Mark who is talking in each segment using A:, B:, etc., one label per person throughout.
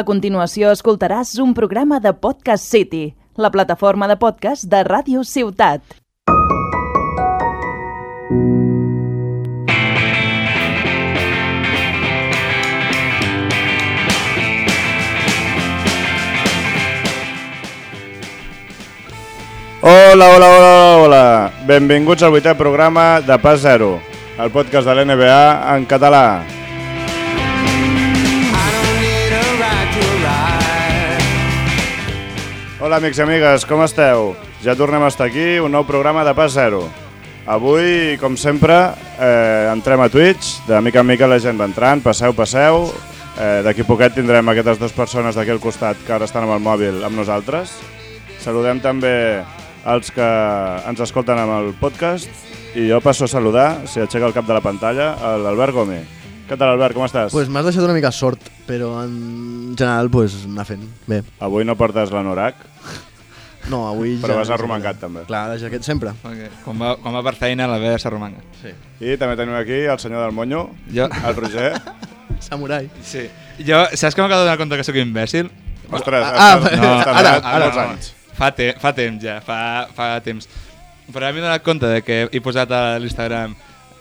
A: A continuació escoltaràs un programa de Podcast City, la plataforma de podcast de Ràdio Ciutat.
B: Hola, hola, hola, hola, hola. Benvinguts al vuitè programa de Pas Zero, el podcast de l'NBA en català.
C: I don't need a ride to ride.
B: Hola, amics i amigues, com esteu? Ja tornem a estar aquí, un nou programa de Pas Zero. Avui, com sempre, eh, entrem a Twitch, de mica en mica la gent va entrant, passeu, passeu. Eh, D'aquí a poquet tindrem aquestes dues persones d'aquí al costat que ara estan amb el mòbil amb nosaltres. Saludem també els que ens escolten amb el podcast i jo passo a saludar, si aixeca el cap de la pantalla, a l'Albert Gómez. Què tal, Albert, com estàs?
D: Pues m'has deixat una mica sort, però en general pues, anar fent. Bé,
B: Avui no portes l'anorac.
D: no, avui...
B: Però vas
D: no sé
B: arromangat,
D: què.
B: també.
D: Clar, la jaqueta sempre.
E: Okay. Quan, va, quan va per feina la ve s'arromanga.
D: Sí.
B: I també tenim aquí el senyor del Monyo,
E: Jo,
B: el Roger.
D: Samurai.
E: sí. jo, saps que m'acabo de donar compte que sóc imbècil?
B: Ostres,
D: Ah,
B: estàs-
D: no,
B: estàs
D: ara,
B: donat
D: ara.
B: molts anys.
E: Fa, te fa temps ja, fa, fa temps. Però m'he donat compte de que he posat a l'Instagram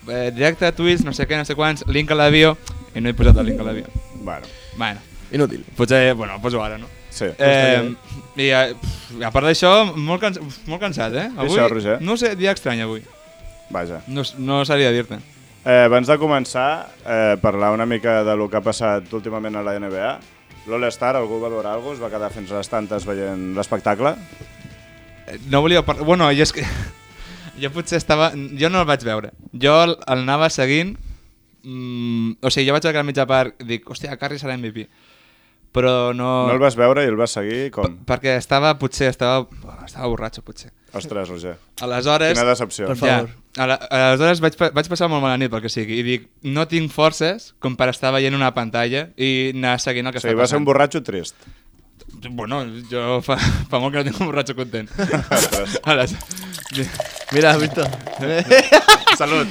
E: eh, directe a Twitch, no sé què, no sé quants, link a la bio, i no he posat el link a la bio.
B: Bueno,
E: Bueno,
D: Inútil.
E: potser, bueno, el poso ara, no?
B: sí.
E: Eh, I a, pff, a part d'això, molt, cans uf, molt cansat, eh? Avui,
B: això, Roger?
E: no ho sé, dia estrany avui.
B: Vaja.
E: No, s- no sabia dir-te.
B: Eh, abans de començar, eh, parlar una mica de lo que ha passat últimament a la NBA. L'All-Star, algú va veure alguna cosa? Es va quedar fins a les tantes veient l'espectacle?
E: Eh, No volia parlar... Bueno, jo és que... Jo potser estava... Jo no el vaig veure. Jo el, el anava seguint... Mm, o sigui, jo vaig acabar a mitja part i dic, hòstia, Carri serà MVP. Però
D: Oh.
E: no...
B: No el vas veure i el vas seguir?
E: P-
B: Com?
E: Perquè estava, potser, estava... bueno, Estava borratxo, potser.
B: Ostres, Roger.
E: Aleshores...
B: Quina decepció.
D: Per favor.
E: Ja, ala- aleshores vaig, pa- vaig passar molt mala nit, pel que sigui, i dic, no tinc forces com per estar veient una pantalla i anar seguint
B: O
E: el que
B: sigui,
E: està
B: va ser
E: passant.
B: un borratxo trist.
E: Bueno, jo fa, fa molt que no tinc un borratxo content.
B: Ostres.
E: Aleshores...
D: Mira, has vist?
E: Salut.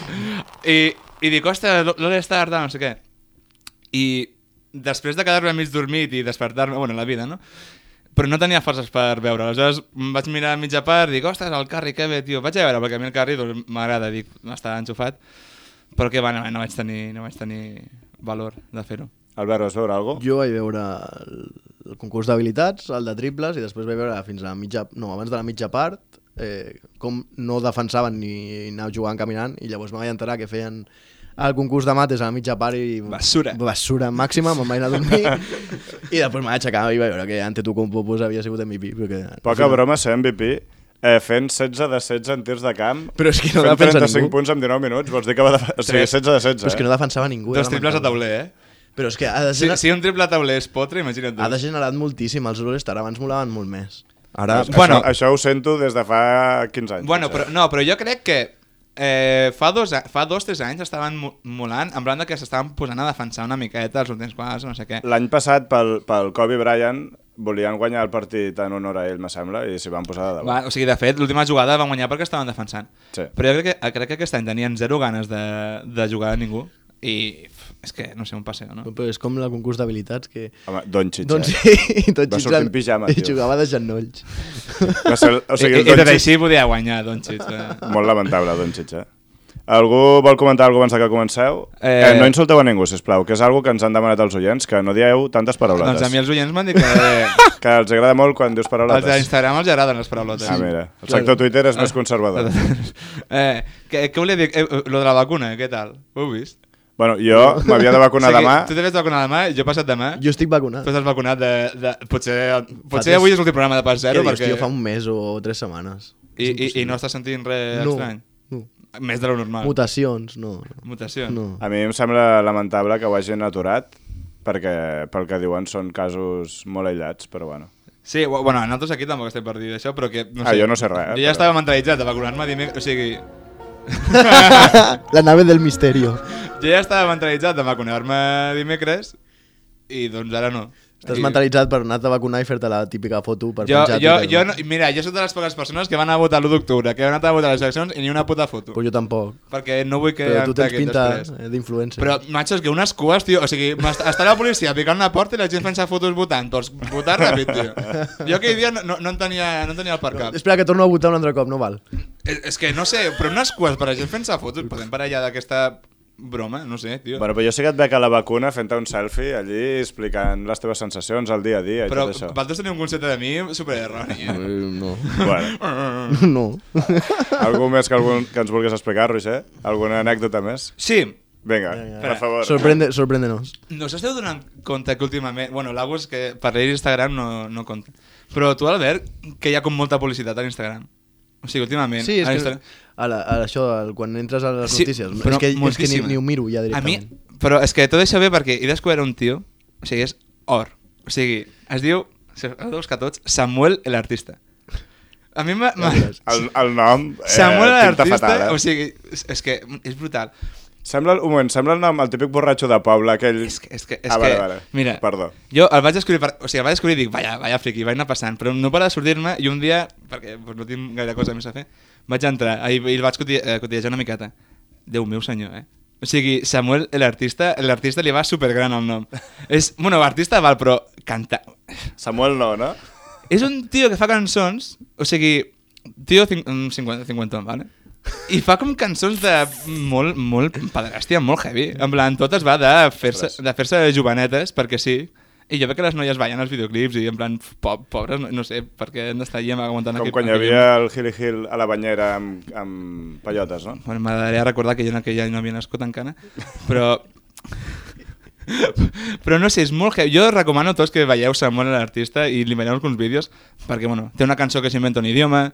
E: I, i dic, ostres, l'ho- l'hora està tardant, no sé què. I després de quedar-me mig dormit i despertar-me, bueno, la vida, no? Però no tenia forces per veure. Aleshores em vaig mirar a mitja part i dic, ostres, el Carri, que bé, tio. Vaig a veure, perquè a mi el Carri doncs, m'agrada, dic, està enxufat. Però que va, no, no, vaig tenir, no vaig tenir valor de fer-ho.
B: Albert, vas veure alguna cosa?
D: Jo vaig veure el, el concurs d'habilitats, el de triples, i després vaig veure fins a mitja... No, abans de la mitja part, eh, com no defensaven ni anar jugant caminant, i llavors me vaig enterar que feien el concurs de mates a la mitja part i...
E: Basura.
D: Basura màxima, me'n vaig anar a dormir. I després me vaig aixecar i vaig veure que Antetokounmpo pues, havia sigut MVP. Però que, al
B: Poca
D: final-
B: broma ser MVP eh, fent 16 de 16 en tirs de camp.
D: Però és que no
B: fent
D: defensa
B: 35
D: ningú.
B: punts en 19 minuts, vols dir que va de... O sigui,
E: Tres.
B: 16 de eh? 16,
D: Però és que no defensava ningú.
E: Dos
D: era
E: triples a
D: lamentable.
E: tauler, eh?
D: Però és que ha,
E: Si,
D: degener...
E: si un triple a tauler és potre, imagina't.
D: ha
E: tu.
D: degenerat moltíssim. Els All-Star abans molaven molt més.
B: Ara,
D: Ara...
B: això, bueno,
E: Bueno.
B: això ho sento des de fa 15 anys.
E: Bueno,
B: potser.
E: però, no, però jo crec que eh, fa, dos, a- fa dos, tres anys estaven mo- molant, en plan de que s'estaven posant a defensar una miqueta els últims quarts, no sé què.
B: L'any passat, pel, pel Kobe Bryant, volien guanyar el partit en honor a ell, me sembla, i s'hi van posar de
E: Va,
B: davant.
E: o sigui, de fet, l'última jugada van guanyar perquè estaven defensant.
B: Sí.
E: Però jo crec que, crec que aquest any tenien zero ganes de, de jugar a ningú i pff, és que no sé on passeu, no?
D: Però és com el concurs d'habilitats que...
B: Home, Don Chicha.
D: Doncs
B: eh?
D: sí, i tot
B: Va
D: xitxant-
B: sortir en pijama,
D: i
B: tio.
D: jugava de genolls.
B: Va ser, el- o sigui,
E: I,
B: el
E: i, i tot
B: Doncic-
E: així podia guanyar, doncs. Eh?
B: Molt lamentable, Don Chicha. Algú vol comentar alguna cosa abans de que comenceu? Eh...
E: Eh,
B: eh... No insulteu a ningú, sisplau, que és algo que ens han demanat els oients, que no dieu tantes paraulotes.
E: Doncs a mi els oients m'han dit que
B: Que els agrada molt quan dius
E: els
B: paraulotes.
E: d'Instagram els agraden les paraulotes.
B: Ah, mira, el sector Twitter és més conservador.
E: eh, què, què volia dir? Eh, lo de la vacuna, què tal? Ho heu vist?
B: Bueno, jo m'havia de vacunar
E: sigui,
B: demà.
E: Tu t'havies vacunat demà, jo he passat demà.
D: Jo estic vacunat.
E: Tu estàs vacunat de... de potser potser
D: temps.
E: avui és l'últim programa de Pas
D: Què
E: Zero,
D: dius,
E: perquè...
D: tio, fa un mes o tres setmanes.
E: I, i, I no estàs sentint res
D: No,
E: estrany? Ah.
D: no.
E: Més de lo normal.
D: Mutacions, no.
E: Mutació.
D: No.
B: A mi em sembla lamentable que ho hagin aturat, perquè pel que diuen són casos molt aïllats, però bueno.
E: Sí, bu- bueno, nosaltres aquí tampoc estem per dir això, però que... No
B: Ah,
E: sé,
B: jo no sé res, eh,
E: Jo
B: però-
E: ja estava mentalitzat de vacunar-me dimecres, o sigui...
D: La nave del misterio.
E: Jo ja estava mentalitzat de vacunar-me dimecres i doncs ara no.
D: Estàs
E: I-
D: mentalitzat per anar-te a vacunar i fer-te la típica foto per
E: Jo,
D: penjar. a
E: jo,
D: Twitter,
E: jo
D: no?
E: no, mira, jo soc de les poques persones que van a votar l'1 d'octubre, que han anat a votar a les eleccions i ni una puta foto.
D: Però jo tampoc.
E: Perquè no vull que...
D: Però
E: em
D: tu tens
E: treguin
D: pinta
E: després.
D: eh, d'influencer.
E: Però, macho, és que unes cues, tio... O sigui, m'est- està la policia picant una porta i la gent fent fotos votant. Doncs votar ràpid, tio. Jo aquell dia no, no, no, en, tenia, no en tenia el per cap. Eh,
D: Espera, que torno a votar un altre cop, no val.
E: És, és que no sé, però unes cues per la gent fent-se fotos, podem parar ja d'aquesta broma, no sé, tio.
B: Bueno, però jo sé que et veig a la vacuna fent un selfie allí explicant les teves sensacions al dia a dia i
E: però
B: tot això.
E: vosaltres teniu un concepte de mi super erroni. Eh?
D: No.
B: Bueno,
D: No.
B: algú més que, algun, que ens vulguis explicar, Roger? Alguna anècdota més?
E: Sí,
B: Vinga, per favor.
D: Sorprende, sorprende-nos.
E: no us esteu donant compte que últimament... Bueno, l'Agus, que per ell Instagram no, no compta. Però tu, Albert, que hi ha com molta publicitat a Instagram. O sigui, últimament...
D: Sí, és
E: a
D: que
E: Instagram-
D: a la, a això, al- quan entres a les
E: Sí,
D: notícies,
E: però
D: és que, és que ni,
E: moltíssima.
D: ni ho miro ja
E: A mi,
D: directament.
E: però és que tot això ve perquè he descobert un tio, o sigui, és or. O sigui, es diu, si heu de buscar tots, Samuel el artista. A mi m'ha... m'ha-
B: El, el nom eh,
E: Samuel
B: pinta
E: l'artista,
B: fatal, eh?
E: o sigui, és, és que és brutal.
B: Sembla, un moment, sembla el nom, el típic borratxo de poble, aquell...
E: És que, és que, és
B: ah, vale,
E: que
B: vale.
E: mira,
B: Perdó.
E: jo el vaig descobrir, per, o sigui, el vaig descobrir i dic, vaya, vaya friki, vaig anar passant, però no para de sortir-me i un dia, perquè pues, no tinc gaire cosa més a fer, vaig entrar i, i el vaig coti- eh, cotidejar una miqueta. Déu meu senyor, eh? O sigui, Samuel, l'artista, l'artista li va supergran el nom. És, bueno, artista val, però canta...
B: Samuel no, no?
E: És un tio que fa cançons, o sigui, tio cin- mm, 50, 50, vale? I fa com cançons de molt, molt pederàstia, molt heavy. En plan, tot es va de fer-se de fer jovenetes, perquè sí. I jo veig que les noies ballen als videoclips i en plan, po pobres, no, no sé, perquè hem d'estar allà aguantant
B: Com
E: aquell-
B: quan hi
E: aquell-
B: havia el Hilly Hill a la banyera amb, amb pellotes, no?
E: Bueno, m'agradaria recordar que jo en aquell any no havia nascut encara, però... però no sé, és molt heavy. Jo recomano a tots que veieu Samuel l'artista i li veieu alguns vídeos, perquè bueno, té una cançó que s'inventa un idioma,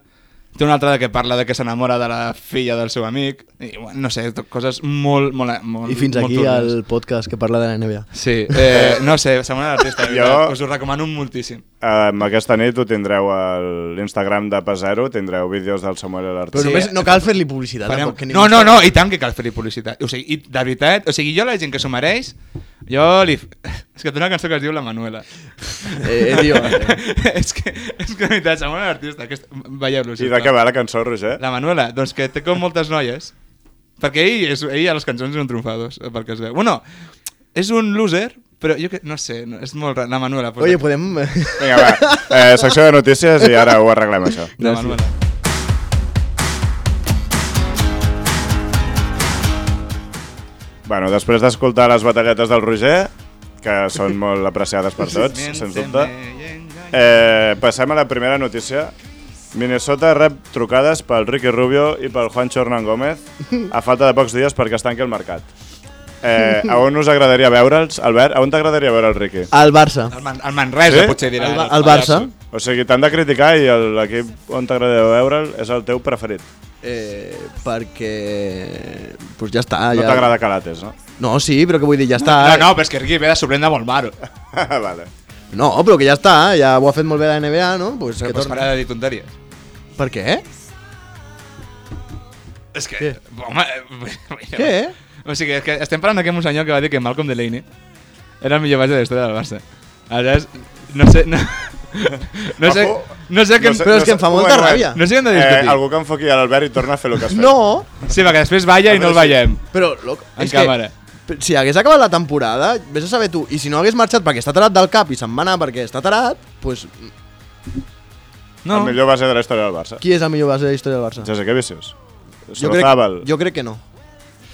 E: té una altra de que parla de que s'enamora de la filla del seu amic, i bueno, no sé, tot- coses molt, molt, molt
D: I fins
E: molt
D: aquí
E: turbies.
D: el podcast que parla de la NBA.
E: Sí, eh, no sé, Samuel l'artista,
B: Jo-
E: jo... us ho recomano moltíssim.
B: Um, aquesta nit ho tindreu a l'Instagram de Pasero, tindreu vídeos del Samuel
D: Però
B: Lartí.
E: Sí,
B: Sí.
D: només no cal fer-li publicitat.
E: Farem...
D: Tampoc, que
E: No, no, no, i tant que cal fer-hi publicitat. O sigui, i de veritat, o sigui, jo la gent que s'ho mereix, jo li... f- És que té una cançó que es diu La Manuela.
D: Eh, eh, tio, eh.
E: és que, és que de veritat, sembla un artista. Que... Veieu-lo.
B: I de què va la cançó, Roger?
E: La Manuela, doncs que té com moltes noies. Perquè ell, és, ell a les cançons és un tromfados, perquè es veu. Bueno, és un loser, però jo que... No sé, no, és molt raro. La Manuela. posa-
D: Oye, podem...
B: Vinga, va. Eh, secció de notícies i ara ho arreglem, això.
E: La
D: Gràcies.
E: Manuela.
B: Bueno, després d'escoltar les batalletes del Roger, que són molt apreciades per tots, sens dubte, eh, passem a la primera notícia. Minnesota rep trucades pel Ricky Rubio i pel Juancho Hernán Gómez a falta de pocs dies perquè es tanqui el mercat. Eh, a on us agradaria veure'ls, Albert? A on t'agradaria veure el Ricky?
D: Al Barça.
E: El, Man, el Manresa,
B: Sí?
E: potser dirà.
D: Al, Ba-
E: el
D: al Barça.
E: pallasso.
B: O sigui, t'han de criticar i el- l'equip on t'agradaria veure'l és el teu preferit.
D: Eh, perquè... Pues ja està.
B: No
D: ja...
B: t'agrada Calates, no?
D: No, sí, però que vull dir, ja està.
E: No, no, però és que Riqui ve de suplent de Volmaro.
B: vale.
D: No, però que ja està, ja ho ha fet molt bé la NBA, no? Pues
E: Que
D: que
E: pots
D: torna.
E: parar de dir tonteries.
D: Per què?
E: És que...
D: Què?
E: Home... eh,
D: Què?
E: O sigui, és que estem parlant d'aquest senyor que va dir que Malcolm Delaney era el millor base de la història del Barça. Aleshores, no sé... No, no sé...
B: Ojo.
E: No sé què...
D: però és que em fa
B: un
D: molta
B: moment, un
D: ràbia.
B: moment.
E: No sé què hem de discutir.
B: Eh, algú que enfoqui a l'Albert i torna a fer el que has fet.
D: No,
E: Sí, va, que després balla i no el veiem.
D: però... Loc,
E: En
D: és que-
E: càmera.
D: Però Si hagués acabat la temporada, vés a saber tu, i si no hagués marxat perquè està tarat del cap i se'n va anar perquè està tarat, pues, doncs
E: No.
B: El millor base de la història del Barça.
D: qui és el millor base de la història del Barça?
B: Jessica Vicious.
D: jo, crec,
B: Strozábal.
D: jo crec que no.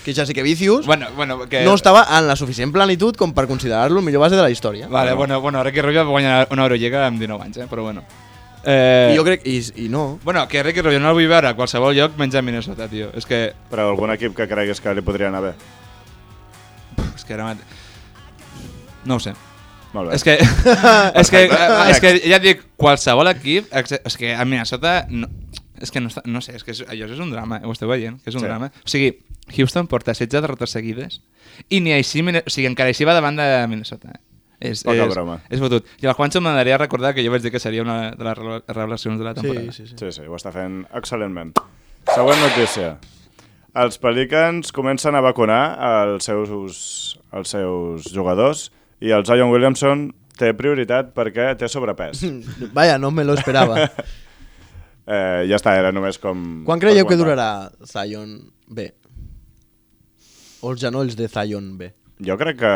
D: Que ja sé que Vicius
E: Bueno, bueno, que...
D: no estava en la suficient plenitud com per considerar-lo el millor base de la història.
E: Vale, bueno, bueno, Ricky Rubio va guanyar una Eurolliga amb 19 anys, eh? però bueno.
D: I
E: Eh,
D: jo crec... I, i no.
E: Bueno, que Ricky Rubio no el vull veure a qualsevol lloc menys a Minnesota, tio. És que...
B: Però algun equip que creguis que li podria anar bé.
E: És que ara mate... No ho sé.
B: Molt bé.
E: És que, és que, eh,
B: Perfecte.
E: és que ja et dic, qualsevol equip, exce- és que a Minnesota, no, és que no, està, no sé, és que és, allò és un drama, eh, ho esteu veient, que és un
B: Sí.
E: sí. drama. O sigui, Houston porta 16 derrotes seguides i ni així, Minne- o sigui, encara així va davant de Minnesota. eh. És,
B: Poca
E: és,
B: broma.
E: És fotut. I el Juancho m'agradaria recordar que jo vaig dir que seria una de les revela- revelacions de la temporada.
D: sí.
B: Sí, sí, ho està fent excel·lentment. Següent notícia. Els Pelicans comencen a vacunar els seus, els seus jugadors i el Zion Williamson té prioritat perquè té sobrepès.
D: Mm. Vaya, no me lo esperava.
B: Eh, ja està, era només com...
D: Quan creieu que
B: aguantar.
D: durarà Zion B? O els genolls de Zion B?
B: Jo crec que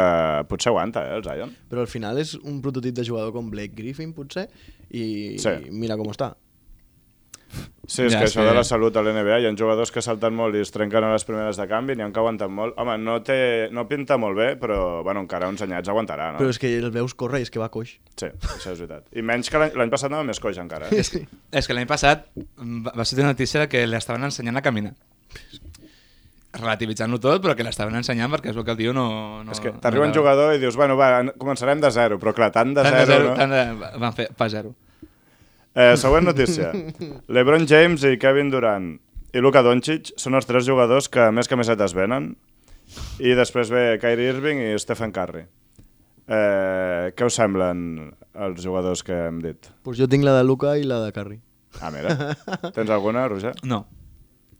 B: potser aguanta, eh, el Zion.
D: Però al final és un prototip de jugador com Blake Griffin, potser, i,
B: Sí.
D: i mira com està.
B: Sí, és
E: Ja,
B: ja, que això
E: sí.
B: de la salut a l'NBA, hi ha jugadors que salten molt i es trenquen a les primeres de canvi, n'hi ha que aguanten molt. Home, no, té, no pinta molt bé, però bueno, encara uns anyats aguantarà,
E: Ah.
B: no?
D: Però és que el veus córrer i és que va coix.
B: Sí, això és veritat. I menys que l'any- l'any passat anava més coix encara. eh?
E: És que l'any passat mm, va va sortir una notícia que l'estaven ensenyant a caminar. Relativitzant-ho tot, però que l'estaven ensenyant perquè és el que el tio no... no
B: és que t'arriba un jugador i dius, bueno, va, en- començarem de zero, però clar, tant de
E: Tant
B: zero,
E: de zero,
B: no?
E: tant de... Van fer pas zero.
B: Eh, següent notícia. LeBron James i Kevin Durant i Luka Doncic són els tres jugadors que més camisetes venen. I després ve Kyrie Irving i Stephen Curry. Eh, què us semblen els jugadors que hem dit?
D: Pues jo tinc la de Luca i la de Carri.
B: Ah, mira. Tens alguna, Roger?
E: No.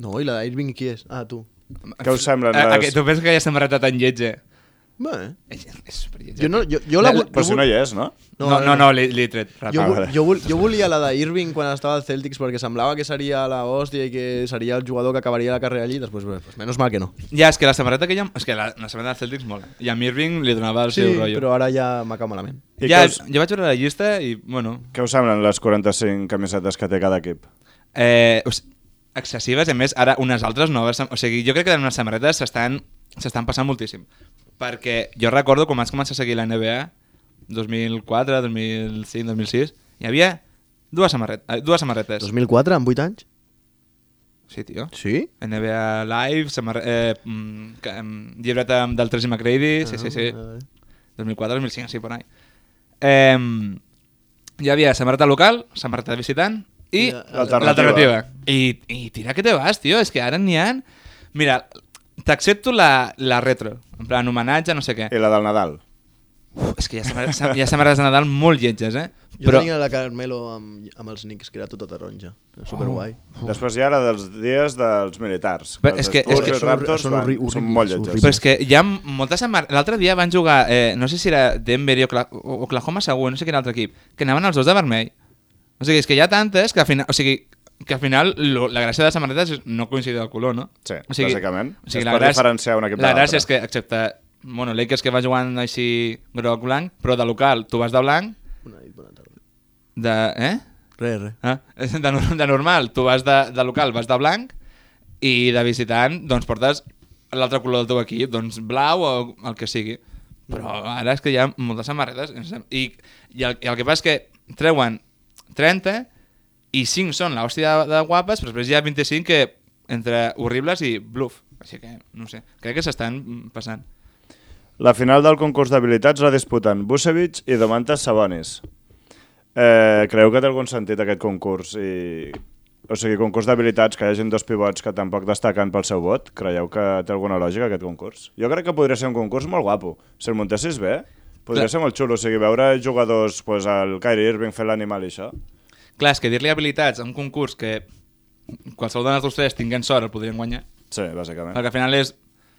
D: No, i la d'Irving qui és? Ah, tu.
B: Què us semblen
E: Eh,
B: les-
E: aquest- Tu penses que ja s'hem retat tan lletja?
D: Bé.
E: És, és superlletja.
D: Jo no, jo, jo la...
E: La-
D: vull-
B: Però
D: jo
B: si no
D: vull-
B: hi és, no?
E: No, no, no, no l'he l'he tret.
D: Jo,
E: ràpid.
B: Ah,
D: vull-
B: vale.
D: jo, vull- jo volia la d'Irving quan estava al Celtics perquè semblava que seria la hòstia i que seria el jugador que acabaria la carrera allí i després, bé, pues, menys mal que no.
E: Ja, és que la samarreta que hi ha... És que la, la samarreta del Celtics mola. I a mi Irving li donava el
D: Sí,
E: seu rotllo.
D: però ara ja m'ha cau malament.
B: I
E: Ja,
B: què us-
E: jo vaig veure la llista i, bueno,
B: Què us semblen les 45 camisetes que té cada equip?
E: eh, o sigui, excessives, i a més, ara unes altres noves... O sigui, jo crec que les samarretes s'estan s'estan passant moltíssim. Perquè jo recordo quan vaig començar a seguir la NBA, 2004, 2005, 2006, hi havia dues, samarret, eh, dues samarretes.
D: 2004, amb 8 anys?
E: Sí, tio.
D: Sí?
E: NBA Live, samarre, eh, mm, ca- mm, llibret amb- del Tracy McGrady, sí, sí, sí.
D: Ah,
E: 2004, 2005, sí, por ahí. Eh, hi havia samarreta local, samarreta visitant i
D: I
B: l'alternativa.
E: l'alternativa. I, I tira que te vas, tio, és que ara n'hi ha... Mira, t'accepto la, la retro, en plan homenatge, no sé què.
D: Eh.
B: I la del Nadal.
E: Uf, és que hi ha samarretes, hi ha samarretes de Nadal molt lletges, eh?
D: Jo Però... tenia la Carmelo amb, amb els Knicks, que era tota taronja. Era Superguai.
B: Després hi ha la dels dies dels militars.
E: Però
B: Els
E: és que-
B: Spurs
E: és que
B: i els
D: són horri-
B: Raptors
D: són
B: van-
D: horri- horribles,
B: són molt lletges.
D: horribles.
E: Però és que hi ha moltes samarretes... L'altre dia van jugar, eh, no sé si era Denver i Ocla- o Oklahoma segur, no sé quin altre equip, que anaven els dos de vermell. O sigui, és que hi ha tantes que al final... O sigui, que al final lo, la gràcia de les samarretes és no coincidir el color, no?
B: Sí,
E: o sigui,
B: bàsicament.
E: O sigui,
B: Es
E: la
B: pot
E: gràcia,
B: diferenciar un equip de
E: La
B: l'altre.
E: gràcia és que, excepte... Bueno, Lakers que va jugant així groc-blanc, però de local tu vas de blanc,
D: Bona nit, bona tarda.
E: de... Eh?
D: Re, re.
E: Ah, de, nor- de normal, tu vas de, de local, vas de blanc, i de visitant, doncs portes l'altre color del teu equip, doncs blau o el que sigui. Però ara és que hi ha moltes samarretes. em sem- I, i, el, i el que passa és que treuen 30 i 5 són l'hòstia de, de guapes, però després hi ha 25 que entre horribles i bluff. Així que, no ho sé, crec que s'estan mm, passant.
B: La final del concurs d'habilitats la disputen Busevich i Domantas Sabonis. Eh, creieu que té algun sentit aquest concurs? I... O sigui, concurs d'habilitats, que hi hagin dos pivots que tampoc destaquen pel seu vot, creieu que té alguna lògica aquest concurs? Jo crec que podria ser un concurs molt guapo. Si el muntessis bé, podria
E: Clar.
B: ser molt xulo. O sigui, veure jugadors, pues, el Kyrie Irving fent l'animal i això.
E: Clar, és que dir-li habilitats a un concurs que qualsevol de nosaltres tres tinguem sort el podrien guanyar,
B: Sí, bàsicament.
E: perquè al final és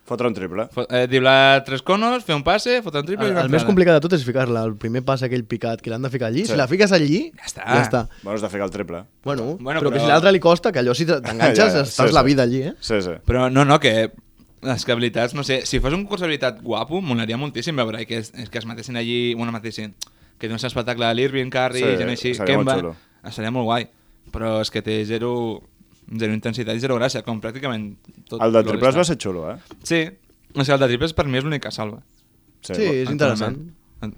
B: Fotre un triple.
E: Fo- Eh, driblar tres conos, fer un passe, fotre un triple
D: El,
E: i una
D: el més
E: entrada.
D: complicat de tot és ficar-la. El primer pas aquell picat que l'han de ficar allí,
B: Sí.
D: si la fiques allí,
E: Ja està.
D: Ja està.
B: Bueno, has de ficar el triple.
D: Bueno,
E: Bueno,
D: bueno però,
E: però-
D: que si l'altre li costa, que allò si te- t'enganxes
B: Ja, ja,
D: estàs
B: sí,
D: la
B: sí.
D: vida allí, eh?
B: Sí, sí.
E: Però no, no, que les que habilitats, no sé, si fos un curs d'habilitat guapo, molaria moltíssim veure que es, que es matessin allí, bueno, matessin, que d'un espectacle de l'Irving, Curry,
B: Sí,
E: sí, gent així,
B: seria molt
E: Kemba, eh,
B: xulo.
E: seria molt guai, però és que té zero, zero intensitat i zero gràcia, com pràcticament tot.
B: El de
E: l'All-Star.
B: triples va ser xulo, eh?
E: Sí, o sigui, el de triples per mi és l'únic que salva.
D: Sí, és interessant.
E: Actualment.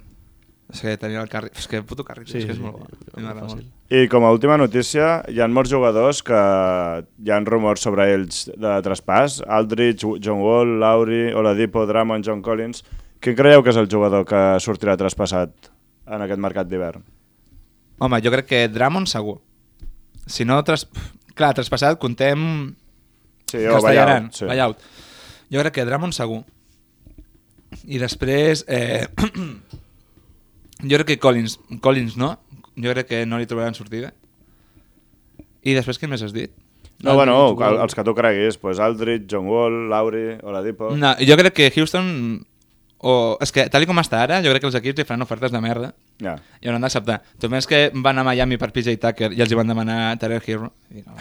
E: És que tenia el Curry, és que puto Curry, sí,
D: Sí,
E: és que és
D: sí,
E: molt
D: sí,
E: bo,
D: sí,
E: sí, m'agrada
D: fàcil.
E: molt.
B: I com a última notícia, hi ha molts jugadors que hi han rumors sobre ells de traspàs. Aldridge, John Wall, Lauri, Oladipo, Drummond, John Collins... Qui creieu que és el jugador que sortirà traspassat en aquest mercat d'hivern?
E: Home, jo crec que Dramon segur. Si no, tras... clar, traspassat comptem
B: Sí, o
E: Castellaran,
B: Ballau,
E: sí. Buyout. Jo crec que Dramon segur. I després... Eh... jo crec que Collins. Collins no. Jo crec que no li trobaran sortida. I després què més has dit? Ah,
B: No, bueno,
E: Aldridge,
B: el,
E: Wall.
B: els que tu creguis, pues Aldridge, John Wall, Lauri, Oladipo...
E: No, jo crec que Houston o... És que, tal i com està ara, jo crec que els equips li faran ofertes de merda
B: Ja.
E: i hauran d'acceptar. Tu més que van a Miami per PJ Tucker i els hi van demanar Tyler Hero. I no,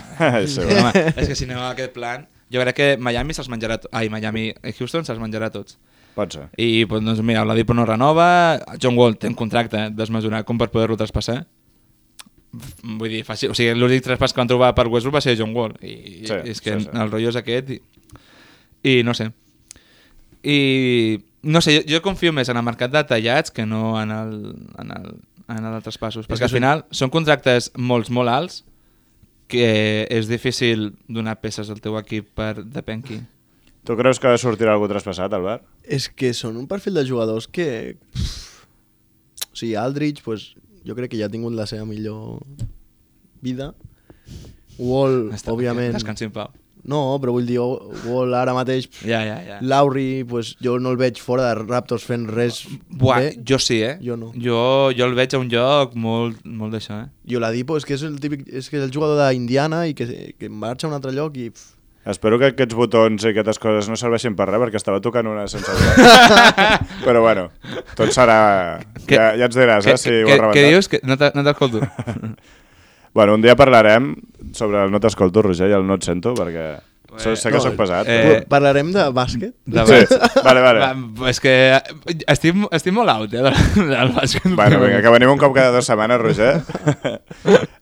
B: Sí,
E: no, home, és que si no, aquest plan... Jo crec que Miami se'ls menjarà... to- Ai, Miami... eh, Houston se'ls menjarà tots.
B: Pot ser.
E: I pues, doncs, mira, Oladipo no renova, John Wall té un contracte desmesurat com per poder-lo traspassar. Vull dir, fàcil. O sigui, l'únic traspàs que van trobar per Westbrook va ser John Wall. I,
B: Sí,
E: sí, és que
B: sí,
E: sí,
B: sí.
E: sí. el rotllo és aquest i, i no sé. I no sé, jo, jo confio més en el mercat de tallats que no en el, en el, en el de traspassos. Perquè
D: que
E: al final són contractes molts, molt alts que és difícil donar peces al teu equip per depèn qui.
B: Tu creus que sortirà algú traspassat, Albert?
D: És que són un perfil de jugadors que... pff, O sigui, Aldridge, pues, jo crec que ja ha tingut la seva millor vida. Wall, Està
E: eh?
D: òbviament...
E: Descansi en pau.
D: No, però vull dir, Wall ara mateix... pff,
E: Ja, ja, ja.
D: Lowry, pues, jo no el veig fora de Raptors fent res
E: Buah,
D: bé.
E: jo sí, eh?
D: Jo no.
E: Jo, jo el veig a un lloc molt, molt d'això, eh?
D: I Oladipo és que és el típic, és que és el jugador d'Indiana i que, que marxa a un altre lloc i... pff,
B: Espero que aquests botons i aquestes coses no serveixin per res, perquè estava tocant una sense voler. Però bueno, tot serà...
E: Que-
B: ja, ja ens diràs, eh, si ho has
E: que, que
B: rebentat.
E: dius? Que no t'a- no t'escolto.
B: Bueno, un dia parlarem sobre el no t'escolto, Roger, i el no et sento, perquè... so- sé que
D: no,
B: sóc pesat.
E: eh,
B: però-
D: Parlarem de bàsquet?
E: De
B: Sí,
E: bàsquet.
B: vale, vale.
E: Va, és que eh, estic, estic molt out, eh, del, del bàsquet.
B: Bueno, vinga, que venim un cop cada dues setmanes, Roger.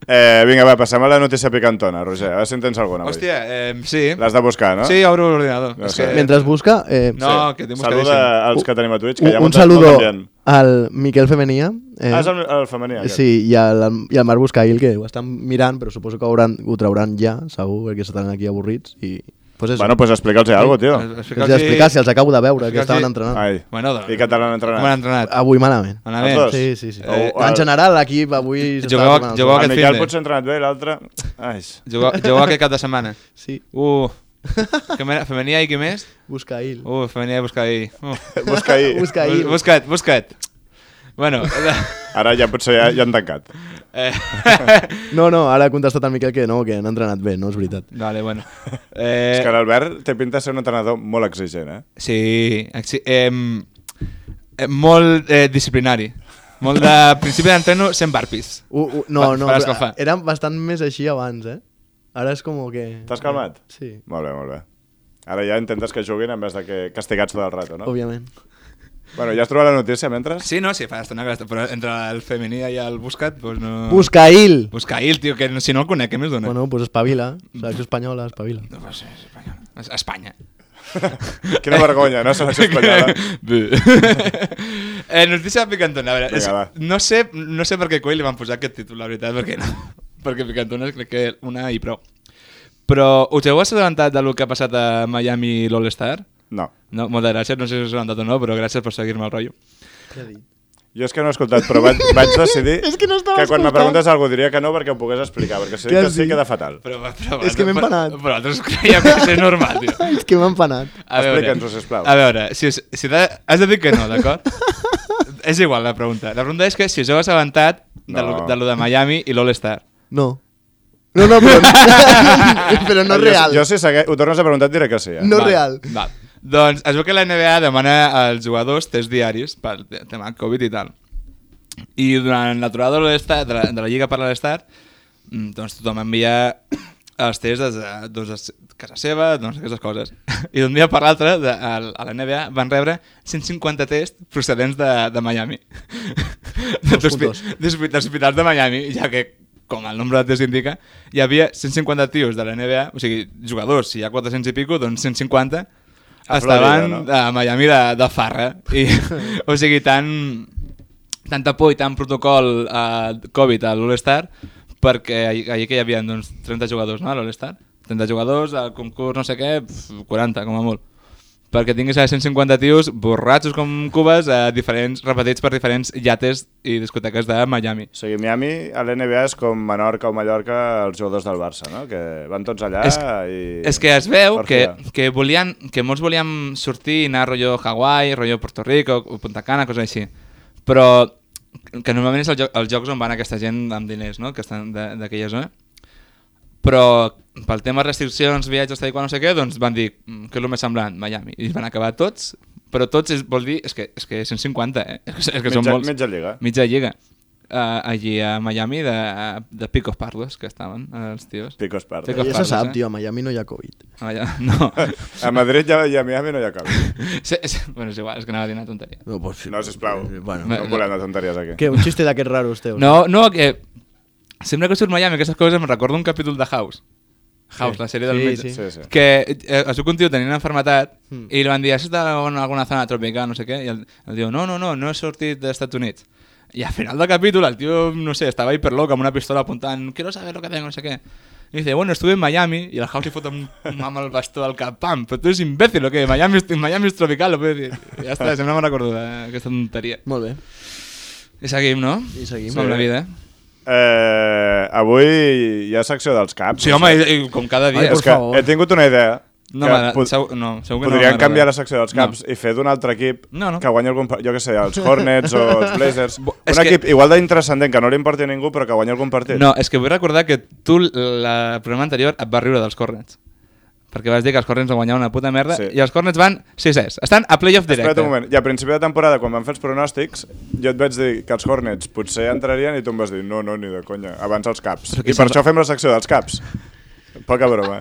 B: eh, vinga, va, passem a la notícia picantona, Roger. A veure si en tens alguna. avui.
E: Hòstia, eh, sí.
B: L'has de buscar, no?
E: Sí, obro l'ordinador.
B: No
E: és
B: sé.
E: que...
D: Mentre es busca... Eh,
E: No, que tinc
B: Saluda als que tenim a Twitch, que hi ha
D: un, un
B: molta,
D: saludo
B: molta gent.
D: al Miquel Femenia. Eh,
B: Ah, és el, el femení, aquest.
D: Sí, i al, i al Marc Buscail, que ho estan mirant, però suposo que hauran, ho trauran ja, segur, perquè estaran aquí avorrits. I, pues és,
B: Bueno, doncs pues explica'ls alguna cosa, tio.
D: els he d'explicar, si els acabo de veure, que estaven entrenant.
B: Ai.
E: Bueno, doncs-
B: I català entrenat. Ah,
E: Com han entrenat?
D: Avui malament.
E: Malament.
B: Els dos?
D: Sí, sí, sí.
B: Eh,
D: en general, l'equip avui... s'està
E: Jugueu a-
D: tornant al
E: jugueu a-
B: el
E: aquest
B: Miquel
E: finde.
B: potser ha entrenat bé, l'altre... Ai,
E: Jugueu, jugueu aquest cap de setmana.
D: sol. Sí,
E: Uh. Que mena- Femenia i qui més?
D: Buscail.
E: Uh, femenia i buscar ahir. Uh.
B: busca ahir.
D: Buscail.
E: Bus- Busca't, busca't. Bueno,
B: Ara ja potser ja, ja han tancat.
E: eh,
D: No, no, ara ha contestat el Miquel que no, que han entrenat bé, no és veritat.
E: vale, bueno.
B: Eh... És
E: Eh,
B: que l'Albert té pinta de ser un entrenador molt exigent, eh?
E: sí, exi- em, eh, molt eh, disciplinari. Molt de principi d'entreno 100 barpis.
D: U, u, no,
E: Fa-
D: no,
E: faràs
D: però
E: com fa.
D: era bastant més així abans, eh? Ara és com que...
B: T'has calmat?
D: Sí,
B: Molt bé, molt bé. Ara ja intentes que juguin en vez de que castigats tot el rato, no?
D: òbviament.
B: Bueno, ja has trobat la notícia mentre?
E: Sí, no, sí, fa estona que l'està- però entre el femení i el buscat, doncs no...
D: Buscail!
E: Buscail, tio, que no- si no el conec, què més dona?
D: Bueno, doncs pues espavila, selecció espanyola, espavila.
E: No, pues, és espanyola. És Espanya.
B: Quina vergonya, no? Selecció espanyola.
E: Bé. eh, notícia picantona, a veure,
B: Vinga,
E: és,
B: va.
E: no, sé, no sé per què coi li van posar aquest títol, la veritat, perquè, no, perquè picantona crec que una i prou. Però us heu assabentat del que ha passat a Miami i l'All-Star?
B: No.
E: No, moltes gràcies, no sé si us heu assabentat o no, però gràcies per seguir-me el rotllo.
B: Jo és que no he escoltat, però vaig, vaig decidir
D: És que no estava
B: quan me
D: escoltant.
B: preguntes alguna diria que no perquè ho pogués explicar, perquè si
D: Què
B: dic que
D: has
B: sí
D: dit?
B: queda fatal.
E: Però, però,
D: És que m'he
E: però-
D: empanat.
E: Però altres creiem que és normal, tio.
D: És que m'ha empanat.
E: A veure.
B: Explica'ns-ho, sisplau.
E: A veure, si, us- si de, has de dir que no, d'acord? és igual la pregunta. La pregunta és que si us heu assabentat de,
B: No.
E: lo, de lo de Miami i l'All-Star.
D: No. No, no, però, però
B: Ah,
D: no
B: Jo-
D: real.
B: Jo, si segue... ho tornes a preguntar et diré que sí, eh?
D: No real.
E: Val. Doncs es veu que la NBA demana als jugadors tests diaris pel te- tema Covid i tal. I durant l'aturada de, l'All-Star- de, la, de la Lliga per l'All-Star, mm, doncs tothom envia els tests des de, doncs, des de casa seva, doncs aquestes coses. I d'un dia per l'altre, de- a l- a la NBA, van rebre 150 tests procedents de, de Miami. De-
D: Dos
E: d'hospi-
D: putos.
E: d'hospi- dels hospitals de Miami, ja que com el nombre de tests indica, hi havia 150 tios de la NBA, o sigui, jugadors, si hi ha 400 i pico, doncs 150
B: A
E: estaven
B: Florida, no?
E: a Miami de, de farra. I, o sigui, tant, tanta por i tant protocol a Covid a l'All-Star, perquè ahir, ahir que hi havia doncs, 30 jugadors no, a l'All-Star, 30 jugadors, al concurs no sé què, pf, 40 com a molt perquè tinguis a 150 tios borratxos com cubes a diferents, repetits per diferents iates i discoteques de Miami.
B: O sigui, Miami, a l'NBA és com Menorca o Mallorca, els jugadors del Barça, no? Que van tots allà
E: És-
B: i...
E: És que es veu
B: per
E: que,
B: filar.
E: que, volien, que molts volien sortir i anar rotllo Hawaii, rotllo Puerto Rico, o Punta Cana, coses així. Però que normalment és el jo els jocs on van aquesta gent amb diners, no? que estan de- d'aquella zona. Però pel tema restriccions, viatges, tal i qual, no sé què, doncs van dir "Mm, què és el més semblant, Miami. I van acabar tots Però tots és, vol dir... És que, és que 150, eh? És que, és que són
B: Mitja-
E: molts.
B: mitja lliga.
E: Mitja lliga. Uh, allí a Miami, de, de Picos Parlos, que estaven eh, els tios.
B: Picos Pardos.
E: Picos
B: Que
D: Ja se
E: Pardos,
D: sap,
E: eh?
D: tio, a Miami no hi ha Covid.
E: Ah, ja, no.
B: A Madrid ja, i a Miami no hi ha cap.
E: sí, sí, bueno, és igual, és que anava a dir una tonteria.
D: No, pues,
B: No, sisplau. Bueno,
D: Bueno,
E: Me-
B: no volem de tonteries aquí.
D: Què, un xiste d'aquests raros teus?
E: No, no, que... Sempre que surt Miami, aquestes coses, em recordo un capítol de House. House,
D: Sí.
E: la sèrie del
D: Sí,
E: metge.
B: sí. Hmm. Sí, sí.
E: Que eh, es diu que un tio tenia una enfermetat
D: Mm.
E: i li van dir, això està en alguna zona tropical, no sé què, i el, el diu, no, no, no, no he sortit dels Estats Units. I al final del capítol el tio, no sé, estava hiperloc amb una pistola apuntant, quiero saber lo que tengo, no sé què. I dice, bueno, estuve en Miami i el House li fot un mam al bastó al cap, pam, però tu eres imbècil o què? Miami, és- Miami és tropical, lo puedes dir. Ja està, sempre me'n recordo d'aquesta tonteria.
D: Molt bé.
E: I seguim, no?
D: I seguim.
E: Som la vida, eh?
B: Eh, avui hi ha secció dels caps.
E: Sí, home, i, i com cada dia.
D: Ai,
B: és
D: por
B: que
D: favor.
B: he tingut una idea.
E: no,
B: que
E: m'agrada,
B: pod-
E: segur, no, segur que no
B: Podrien
E: m'agrada.
B: canviar la secció dels caps i fer d'un altre equip
E: No, no.
B: que guanyi algun... pa- Jo què sé, els Hornets o els Blazers.
E: Bo- és
B: un
E: que-
B: equip igual d'interessant que no li importi a ningú però que guanyi algun partit.
E: No, és que vull recordar que tu, l- la- el programa anterior, et vas riure dels Cornets. Perquè vas dir que els Cornets van guanyar una puta merda
B: Sí.
E: sí. i els Cornets van 6 Estan a playoff directe.
B: Espera't un moment. I a principi de temporada, quan van fer els pronòstics, jo et vaig dir que els Hornets potser entrarien i tu em vas dir no, no, ni de conya, abans els caps. I
E: Però qui
B: per
E: se'n
B: això
E: va-
B: fem la secció dels caps. Poca broma.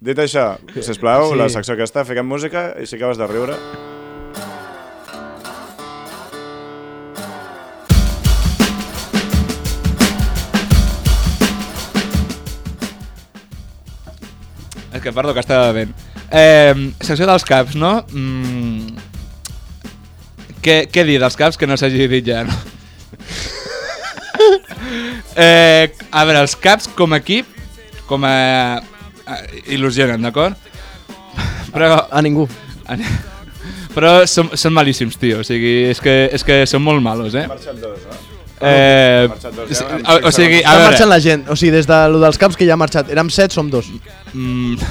B: Dit això, sisplau,
D: Sí.
B: la secció aquesta, fiquem música i sí que vas de riure.
E: És que, perdó, que estava bevent. Eh, secció dels caps, no? Mm. Què, què dir dels caps que no s'hagi dit ja, no? eh, a veure, els caps com a equip, com a... eh, il·lusionen, d'acord? Però...
D: A ningú.
E: Però són, són malíssims, tio. O sigui, és que, és que són molt malos, eh?
B: Ha marxat dos, no?
E: eh
B: Ah, ha marxat dos,
E: sí,
B: ja, amb
E: o,
B: cinc
E: o sigui,
B: segons.
E: a
D: Està
E: veure...
D: marxant la gent. O sigui, des de lo dels caps que ja ha marxat. Érem set, som dos.
E: Mm,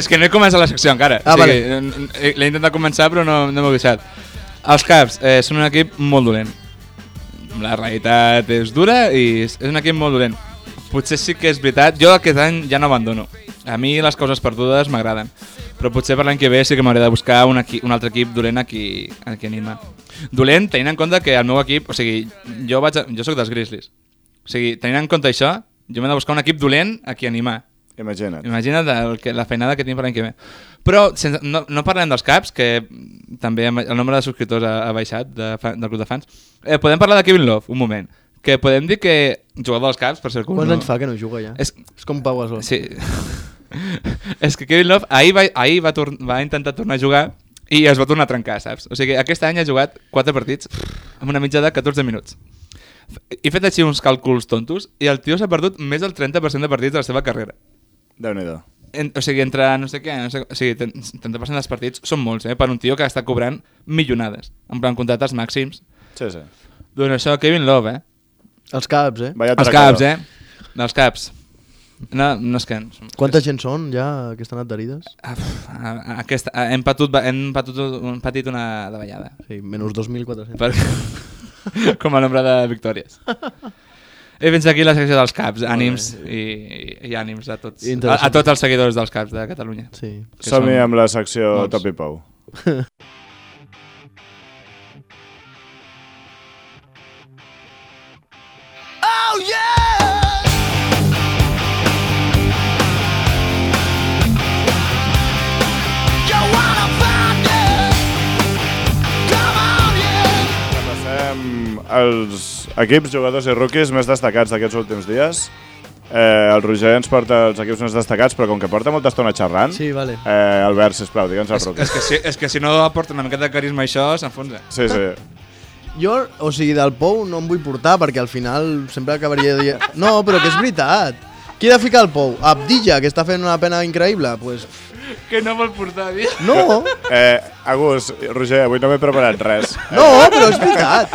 E: és que no he començat la secció encara.
D: Ah,
E: o sigui, vale. L'he intentat començar però no, no m'he deixat. Els Caps eh, són un equip molt dolent. La realitat és dura i és és un equip molt dolent. Potser sí que és veritat, jo aquest any ja no abandono. A mi les coses perdudes m'agraden. Però potser per l'any que ve sí que m'hauré de buscar un, equip, un altre equip dolent aquí, aquí a Nima. Dolent tenint en compte que el meu equip... O sigui, jo, vaig a, jo sóc dels Grizzlies. O sigui, tenint en compte això, jo m'he de buscar un equip dolent aquí a Nima.
B: Imagina't.
E: Imagina't el que, la feinada que tinc per l'any que ve. Però sense, no, no parlem dels caps, que també hem- el nombre de subscriptors ha, ha baixat de, fa- del grup de fans. Eh, podem parlar de Kevin Love, un moment. Que podem dir que jugador dels caps, per ser
D: Quants anys fa que no juga ja?
E: És-
D: és com Pau Gasol.
E: Sí. és que Kevin Love ahir, va, ahir va, tor va intentar tornar a jugar i es va tornar a trencar, saps? O sigui, aquest any ha jugat 4 partits amb una mitja de 14 minuts. He fet així uns càlculs tontos i el tio s'ha perdut més del 30% de partits de la seva carrera.
B: Déu-n'hi-do.
E: En, o sigui, entre no sé què, no sé, o sigui, ten- 30% dels partits són molts, eh? Per un tio que està cobrant millonades. En plan, contractes màxims.
B: Sí, sí.
E: Doncs això, Kevin Love, eh?
D: Els caps, eh?
B: Vaya
E: Els
B: atracador.
E: caps, eh? Dels caps. No, no és que...
D: Quanta gent són ja que estan adherides?
E: Ah, pf, a- a- Aquesta, a- hem, patut, ba- hem patut, un, patit una davallada.
D: Sí, menys 2.400.
E: Per, com a nombre de victòries. I fins aquí la secció dels caps, ànims i, i ànims a tots, a,
D: Interessant.
E: a tots els seguidors dels caps de Catalunya.
D: Sí.
E: que
B: Som-hi
E: són-
B: amb la secció
E: Molts.
B: Top i Pou. Repassem els equips, jugadors i rookies més destacats d'aquests últims dies. Eh, el Roger ens porta els equips més destacats, però com que porta molta estona xerrant,
D: Sí, vale.
B: eh, Albert, sisplau, digue'ns els
E: És, és,
B: rookies.
E: que si, és que si no aporta una miqueta de carisma a això, s'enfonsa.
B: Sí, sí.
D: Jo, o sigui, del Pou no em vull portar perquè al final sempre acabaria dient... No, però que és veritat. Qui ha de ficar el Pou? Abdilla, que està fent una pena increïble? Pues,
E: Que no vol portar, tio.
D: no,
B: Eh, Agus, Roger, avui no m'he preparat res.
D: no, però és veritat.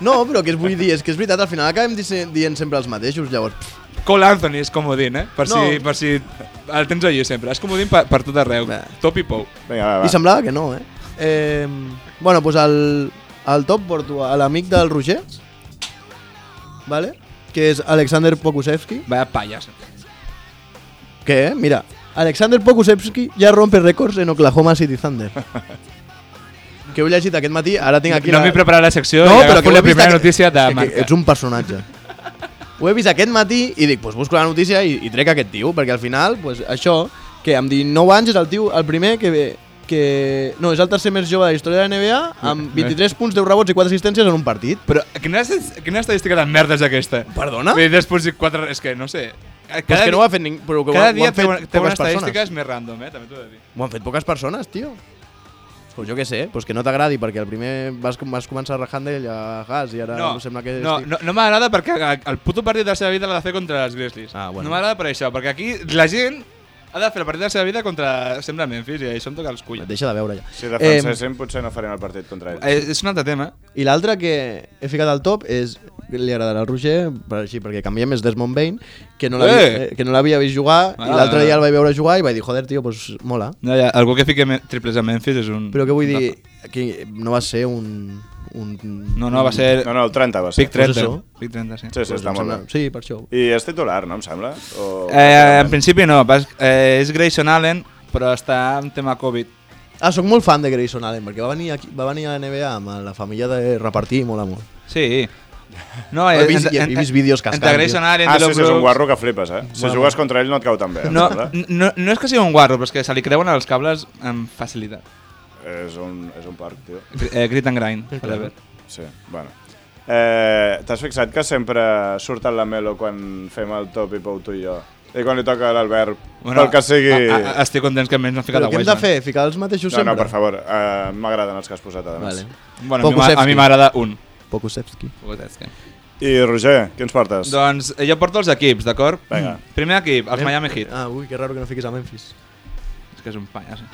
D: No, però que es vull dir, és que és veritat, al final acabem dise- dient sempre els mateixos, llavors... pff,
E: Cole Anthony és comodín, eh? Per, si,
D: No.
E: per si el tens allí sempre. És comodín per, per tot arreu.
D: Va.
E: Top i pou.
B: Vinga, va, va.
D: I semblava que no, eh? eh bueno, doncs al, al top porto a l'amic del Roger, vale? que és Alexander Pokusevski, eh,
E: Vaya pallas.
D: que, mira, Alexander Pokusevski ja rompe rècords en Oklahoma City Thunder. que heu llegit aquest matí, ara tinc aquí
E: No
D: la...
E: m'he preparat la secció
D: No,
E: i
D: però que
E: agafo
D: ho he
E: la
D: vist
E: primera
D: aquest-
E: notícia de
D: és que
E: Marca.
D: Ets un personatge. Ho he vist aquest matí i dic, pues, busco la notícia i, i trec aquest tio, perquè al final, pues, això, que amb 19 anys és el tio, el primer que ve que... No, és el tercer més jove de la història de la NBA amb 23 punts, 10 rebots i 4 assistències en un partit.
E: Però quina, est- quina estadística de merda és aquesta?
D: Perdona?
E: Vull dir, després i quatre... És que no sé. Cada,
D: Cada que
E: di-
D: no ho ha fet ningú, però que ho,
E: cada
D: han- ho
E: dia
D: han
E: té,
D: fet
E: una, té unes
D: poques
E: estadístiques
D: persones.
E: més random, eh? També t'ho he de dir.
D: Ho han fet poques persones, tio. Pues jo què sé, pues que no t'agradi, perquè el primer vas, com- vas començar rajant d'ell a Haas i ara no, sembla que...
E: no,
D: estic-
E: no, no m'agrada perquè el puto partit de la seva vida l'ha de fer contra els Grizzlies.
D: Ah, bueno.
E: No m'agrada per això, perquè aquí la gent ha de fer el partit de la seva vida contra sempre Memphis i això em toca els
D: Et
E: culls.
D: deixa de veure ja.
B: Si defenséssim, potser no farem el partit contra ells.
E: Eh, és un altre tema.
D: I l'altre que he ficat al top és li agradarà al Roger, per així, perquè canviem, és Desmond Bain, que no l'havia
E: Eh!
D: eh, que no l'havia vist jugar, i
E: Ah.
D: l'altre dia el vaig veure jugar i vaig dir, joder, tio, pues mola.
E: No, ja, algú que fiqui me- triples a Memphis és un...
D: Però que vull
E: un
D: dir,
E: tapa.
D: que no va ser un... un
E: No, no, va ser...
B: No, no, el 30 va ser.
E: Eh, Pick 30.
D: això.
E: Pick 30, sí.
B: Sí, sí, està molt bé.
D: Sí, per això.
B: I és titular, no, em sembla? O...
E: Eh, en principi no, pas, eh, és Grayson Allen, però està en tema Covid.
D: Ah, sóc molt fan de Grayson Allen, perquè va venir, aquí, va venir a la NBA amb la família de repartir i mola molt.
E: Sí. No,
D: He
E: eh,
D: vist-
E: entre-
D: he
E: entre-
D: vist vídeos cascant,
E: Entre Grayson
D: tio.
E: Allen,
B: Ah, sí,
E: Dylan
B: sí, és un
E: Brooks-
B: guarro que flipes, eh? Si
D: Guarro.
B: jugues contra ell no et cau tan bé. em
E: No,
B: sembla.
E: no, no és que sigui un guarro, però és que se li creuen els cables amb facilitat.
B: És un, és un parc, tio.
E: Gr- Eh, grit and grind. forever.
B: Sí, bueno. Eh, T'has fixat que sempre surt el Lamelo quan fem el top i Pou tu i jo? I quan li toca a l'Albert, bueno, pel que sigui...
E: A, a, estic content que almenys no han ficat
D: Però
E: a
D: què hem
E: Wiseman.
D: de fer? Ficar els mateixos
B: no,
D: sempre?
B: no, per favor, eh, m'agraden els que has posat, a més.
E: doncs.
D: Vale.
E: Bueno, a mi m'a- a
D: Pokusevski.
E: mi m'agrada un.
D: Pokusevski.
B: I Roger, què ens portes?
E: Doncs eh, jo porto els equips, d'acord? Mm.
B: Vinga.
E: Primer equip, els Miami Heat.
D: Ah, ui, que raro que no fiquis a Memphis.
E: És que és un pallasso.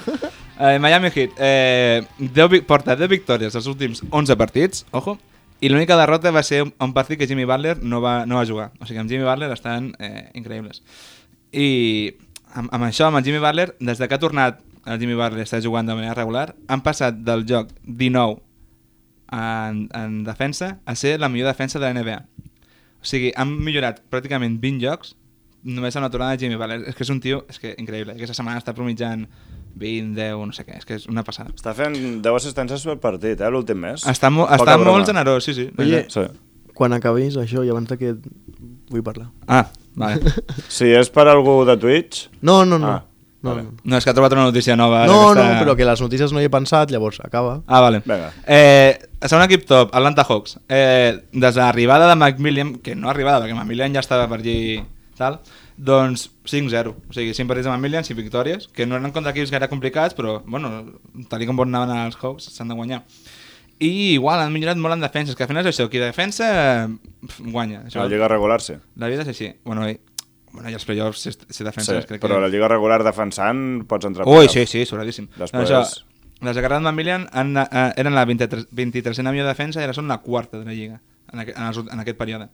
E: Eh, Miami Heat eh, 10, vic- porta 10 victòries els últims 11 partits, ojo, i l'única derrota va ser un- un partit que Jimmy Butler no va, no va jugar. O sigui, amb Jimmy Butler estan eh, increïbles. I amb, amb això, amb el Jimmy Butler, des de que ha tornat el Jimmy Butler està jugant de manera regular, han passat del joc 19 en, en defensa a ser la millor defensa de la NBA. O sigui, han millorat pràcticament 20 jocs només amb la tornada de Jimmy Butler. És que és un tio és que increïble. Aquesta setmana està promitjant 20, 10, no sé què. És que és una passada.
B: Està fent 10 assistències per partit, eh, l'últim mes.
E: Està, mo
B: Poca
E: està
B: broma.
E: molt generós, sí, sí.
D: Oye.
B: Sí.
D: Quan acabis això i abans de que vull parlar.
E: Ah, vale.
B: Si és per algú de Twitch,
D: No, no, no.
B: Ah,
D: no,
B: vale.
D: no.
E: No, és que ha trobat una notícia nova. ara
D: No,
E: que
D: no,
E: està-
D: però que les notícies no hi he pensat, llavors acaba.
E: Ah, vale.
B: Vinga.
E: Eh, segon equip top, Atlanta Hawks. Eh, des de l'arribada de McMillian, que no arribada, perquè McMillian ja estava per allí, tal, doncs 5-0. O sigui, 5 partits de McMillian, 5 victòries, que no eren contra equips gaire complicats, però, bueno, tal i com bon anaven els Hawks, s'han de guanyar. I igual, han millorat molt en defensa, és que al final és això, qui defensa pf, guanya.
B: a
E: Això,
B: la Lliga regular sí.
E: la vida és així. Bueno, i, bueno, i els playoffs, si, si
B: sí
E: defenses, crec
B: però a
E: que...
B: la Lliga regular defensant pots entrar
E: Ui, sí, sí, sobradíssim.
B: Després-
E: Després... les de Garland Mamilian han, eh, eren la 23, 23a millor defensa i ara són la quarta de la Lliga en, aqu en, els, ult- en aquest període.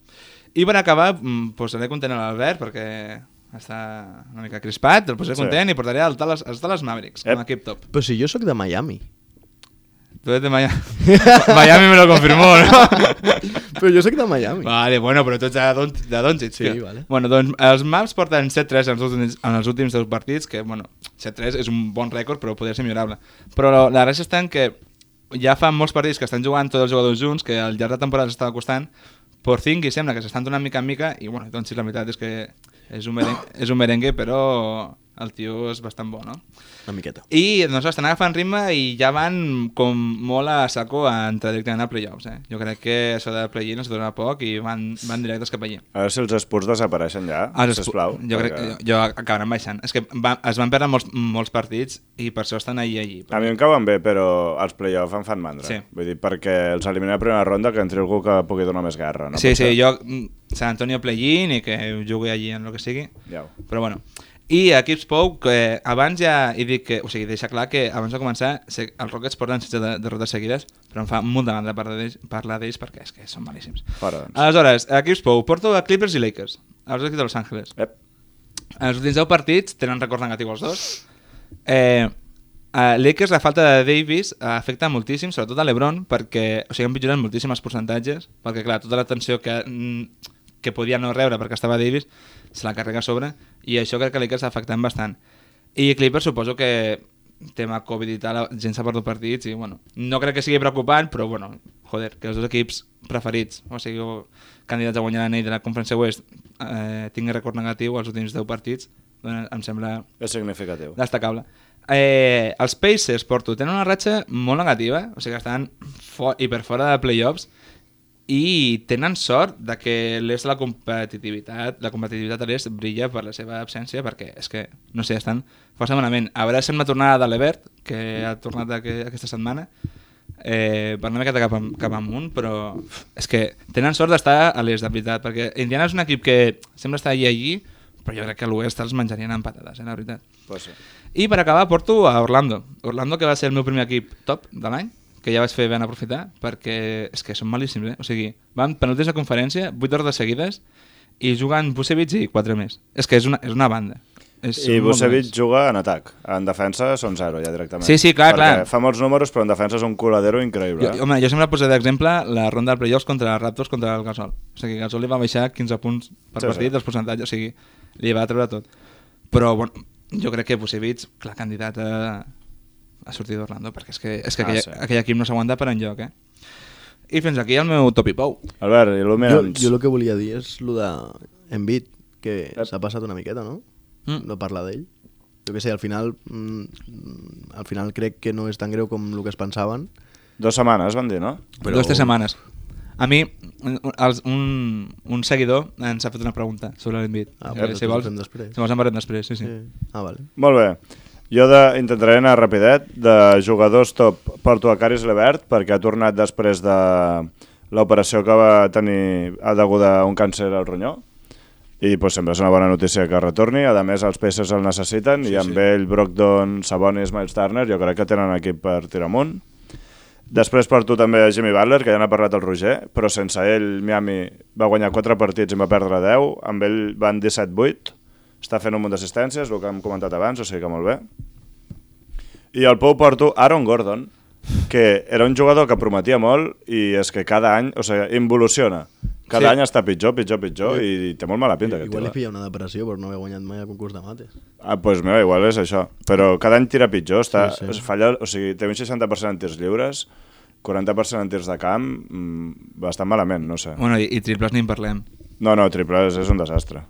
E: I per acabar, mm, posaré content a l'Albert perquè està una mica crispat, el posaré
B: Sí.
E: sí. content i portaré el Dallas, els Dallas Mavericks,
B: Ep.
E: amb equip top.
D: Però si jo sóc de Miami.
E: Tu ets de Miami. Miami me lo confirmó, ¿no?
D: però jo sóc de Miami.
E: Vale, bueno, però tu ets de, Don, de Doncic,
D: Sí,
E: tio.
D: vale.
E: Bueno, doncs els Maps porten 7-3 en, els últims- en els últims dos partits, que, bueno, 7-3 és un bon rècord, però podria ser millorable. Però la resta està en que ja fa molts partits que estan jugant tots els jugadors junts, que al llarg de temporada s'estava costant, Porzingis sembla que s'estan donant mica en mica, i bueno, doncs sí, la veritat és que és un, merengue, és un merengue, però el tio és bastant bo, no?
D: Una miqueta.
E: I doncs estan agafant ritme i ja van com molt a saco a entrar directament a playoffs. Eh? Jo crec que això de play-in es dona poc i van, van directes cap allà.
B: A veure si els Spurs desapareixen ja,
E: Els Spu-
B: sisplau.
E: Jo crec que jo, acabaran baixant. És que va, es van perdre molts, molts partits i per això estan allí allí.
B: A mi em cauen bé, però els play-off em fan mandra.
E: Sí.
B: Vull dir, perquè els elimina a primera ronda que entri algú que pugui donar més guerra. No
E: sí,
B: Pot
E: sí,
B: ser.
E: jo mm, Sant Antonio play-in i que jugui allí en el que sigui.
B: Ja ho.
E: Però bueno. I equips Pou, que abans ja he dit que... O sigui, deixa clar que abans de començar sé, els Rockets porten 16 de, derrotes seguides, però em fa molt de mandra parlar d'ells- parlar d'ells perquè és que són malíssims.
B: Fora, doncs.
E: Aleshores, equips Pou, porto a Clippers i Lakers, els equips de Los Angeles.
B: Ep.
E: En els últims 10 partits tenen record negatiu els dos. Eh, a Lakers la falta de Davis eh, afecta moltíssim, sobretot a l'Ebron, perquè o sigui, han millorat moltíssim els percentatges, perquè clar, tota l'atenció que, mm, que podia no rebre perquè estava Davis se la carrega a sobre, i això crec que a Lakers ha afectat bastant. I Clippers suposo que tema Covid i tal, la gent s'ha perdut partits i, bueno, no crec que sigui preocupant, però, bueno, joder, que els dos equips preferits, o sigui, o candidats a guanyar l'anell de la Conferència Oest, eh, tingui record negatiu als últims 10 partits, doncs em sembla
B: És significatiu.
E: destacable. Eh, els Pacers, Porto, tenen una ratxa molt negativa, o sigui que estan fo hiper fora de playoffs i tenen sort de que l'est de la competitivitat, la competitivitat a l'est brilla per la seva absència perquè és que, no sé, estan força malament. A veure si amb la tornada de l'Evert, que ha tornat aqu aquesta setmana, eh, van una miqueta cap, am cap amunt, però uf, és que tenen sort d'estar a l'est, de veritat, perquè Indiana és un equip que sembla estar allà i allí, però jo crec que a l'oest els menjarien amb patates, eh, la veritat.
B: Pues sí.
E: I per acabar porto a Orlando. Orlando que va ser el meu primer equip top de l'any, que ja vaig fer ben aprofitar, perquè és que són malíssims, eh? O sigui, van penúltims de conferència, 8 hores de seguides, i juguen Vucevic i 4 més. És que és una, és una banda. És
B: I
E: molt
B: Vucevic
E: dolents.
B: juga en atac. En defensa són zero, ja directament.
E: Sí, sí, clar,
B: Perquè
E: clar.
B: Fa molts números, però en defensa és un coladero increïble. eh?
E: Jo, home, jo sempre posar d'exemple la ronda del playoffs contra els Raptors contra el Gasol. O sigui, Gasol li va baixar 15 punts
B: Sí,
E: per sí,
B: sí.
E: partit, sí. els percentatges, o sigui, li va treure tot. Però, bueno, jo crec que Vucevic, clar, candidat a, a sortir d'Orlando, perquè és que, és que
B: Ah,
E: aquell,
B: sí.
E: aquell equip no s'aguanta per enlloc, eh? I fins aquí el meu top i pou.
B: Albert,
D: Jo,
B: il·lumina'ns.
D: jo el que volia dir és el de Embiid, que
B: Ep.
D: s'ha passat una miqueta, no?
E: Mm.
D: No parlar d'ell. Jo què sé, al final, mm, al final crec que no és tan greu com el que es pensaven.
B: Dues setmanes, van dir, no?
E: Però... Dues, tres setmanes. A mi, un, els- un, un seguidor ens ha fet una pregunta sobre l'envit.
D: Ah, però
E: si
D: després
E: vols,
D: ho fem després.
E: si vols en parlem després, sí, sí. sí.
D: Ah, vale.
B: Molt bé. Jo de, intentaré anar rapidet. De jugadors top, porto a Caris Levert, perquè ha tornat després de l'operació que va tenir a deguda a un càncer al ronyó. I doncs, sempre és una bona notícia que retorni. A més, els Pacers el necessiten, sí, i amb sí. ell, Brogdon, Sabonis, Miles Turner, jo crec que tenen equip per tirar amunt. Després porto també a Jimmy Butler, que ja n'ha parlat el Roger, però sense ell Miami va guanyar 4 partits i en va perdre 10, amb ell van 17-8, està fent un munt d'assistències, el que hem comentat abans, o sigui que molt bé. I al Pou porto Aaron Gordon, que era un jugador que prometia molt i és que cada any, o sigui, involuciona. Cada
E: Sí.
B: sí. any està pitjor, pitjor, pitjor i, i té molt mala pinta aquest
D: Igual li
B: tio.
D: pilla una depressió per no haver guanyat mai el concurs de mates.
B: Ah, doncs pues mira, igual és això. Però cada any tira pitjor, està,
D: Sí, sí.
B: sí, sí. falla, o sigui, té un 60% en tirs lliures, 40% en tirs de camp, mm, bastant malament, no sé.
E: Bueno, i, i triples ni en parlem.
B: No, no, triples és un desastre.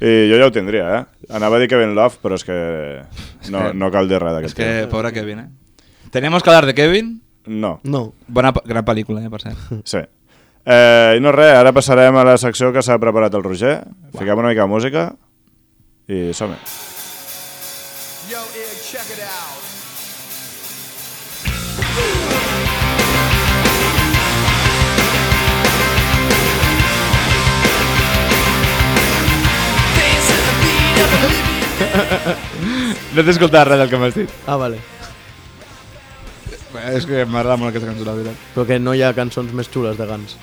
B: I jo ja ho tindria, eh? Anava a dir Kevin Love, però és que no, no cal dir res
E: És
B: d'aquest
E: que,
B: tio.
E: pobre Kevin, eh? Tenemos que hablar de Kevin.
B: No,
D: No,
E: Bona, pe- gran pel·lícula, eh, per cert.
B: sí. Eh, I no res, ara passarem a la secció que s'ha preparat el Roger. Fiquem una mica de música i som-hi.
C: Yo, Ig, check it out. Dance at the beat of a living
E: No t'he escoltat res del que m'has dit.
D: ah, vale.
E: Eh, És que m'agrada molt aquesta cançó, la veritat.
D: Però que no hi ha cançons més xules de Gans.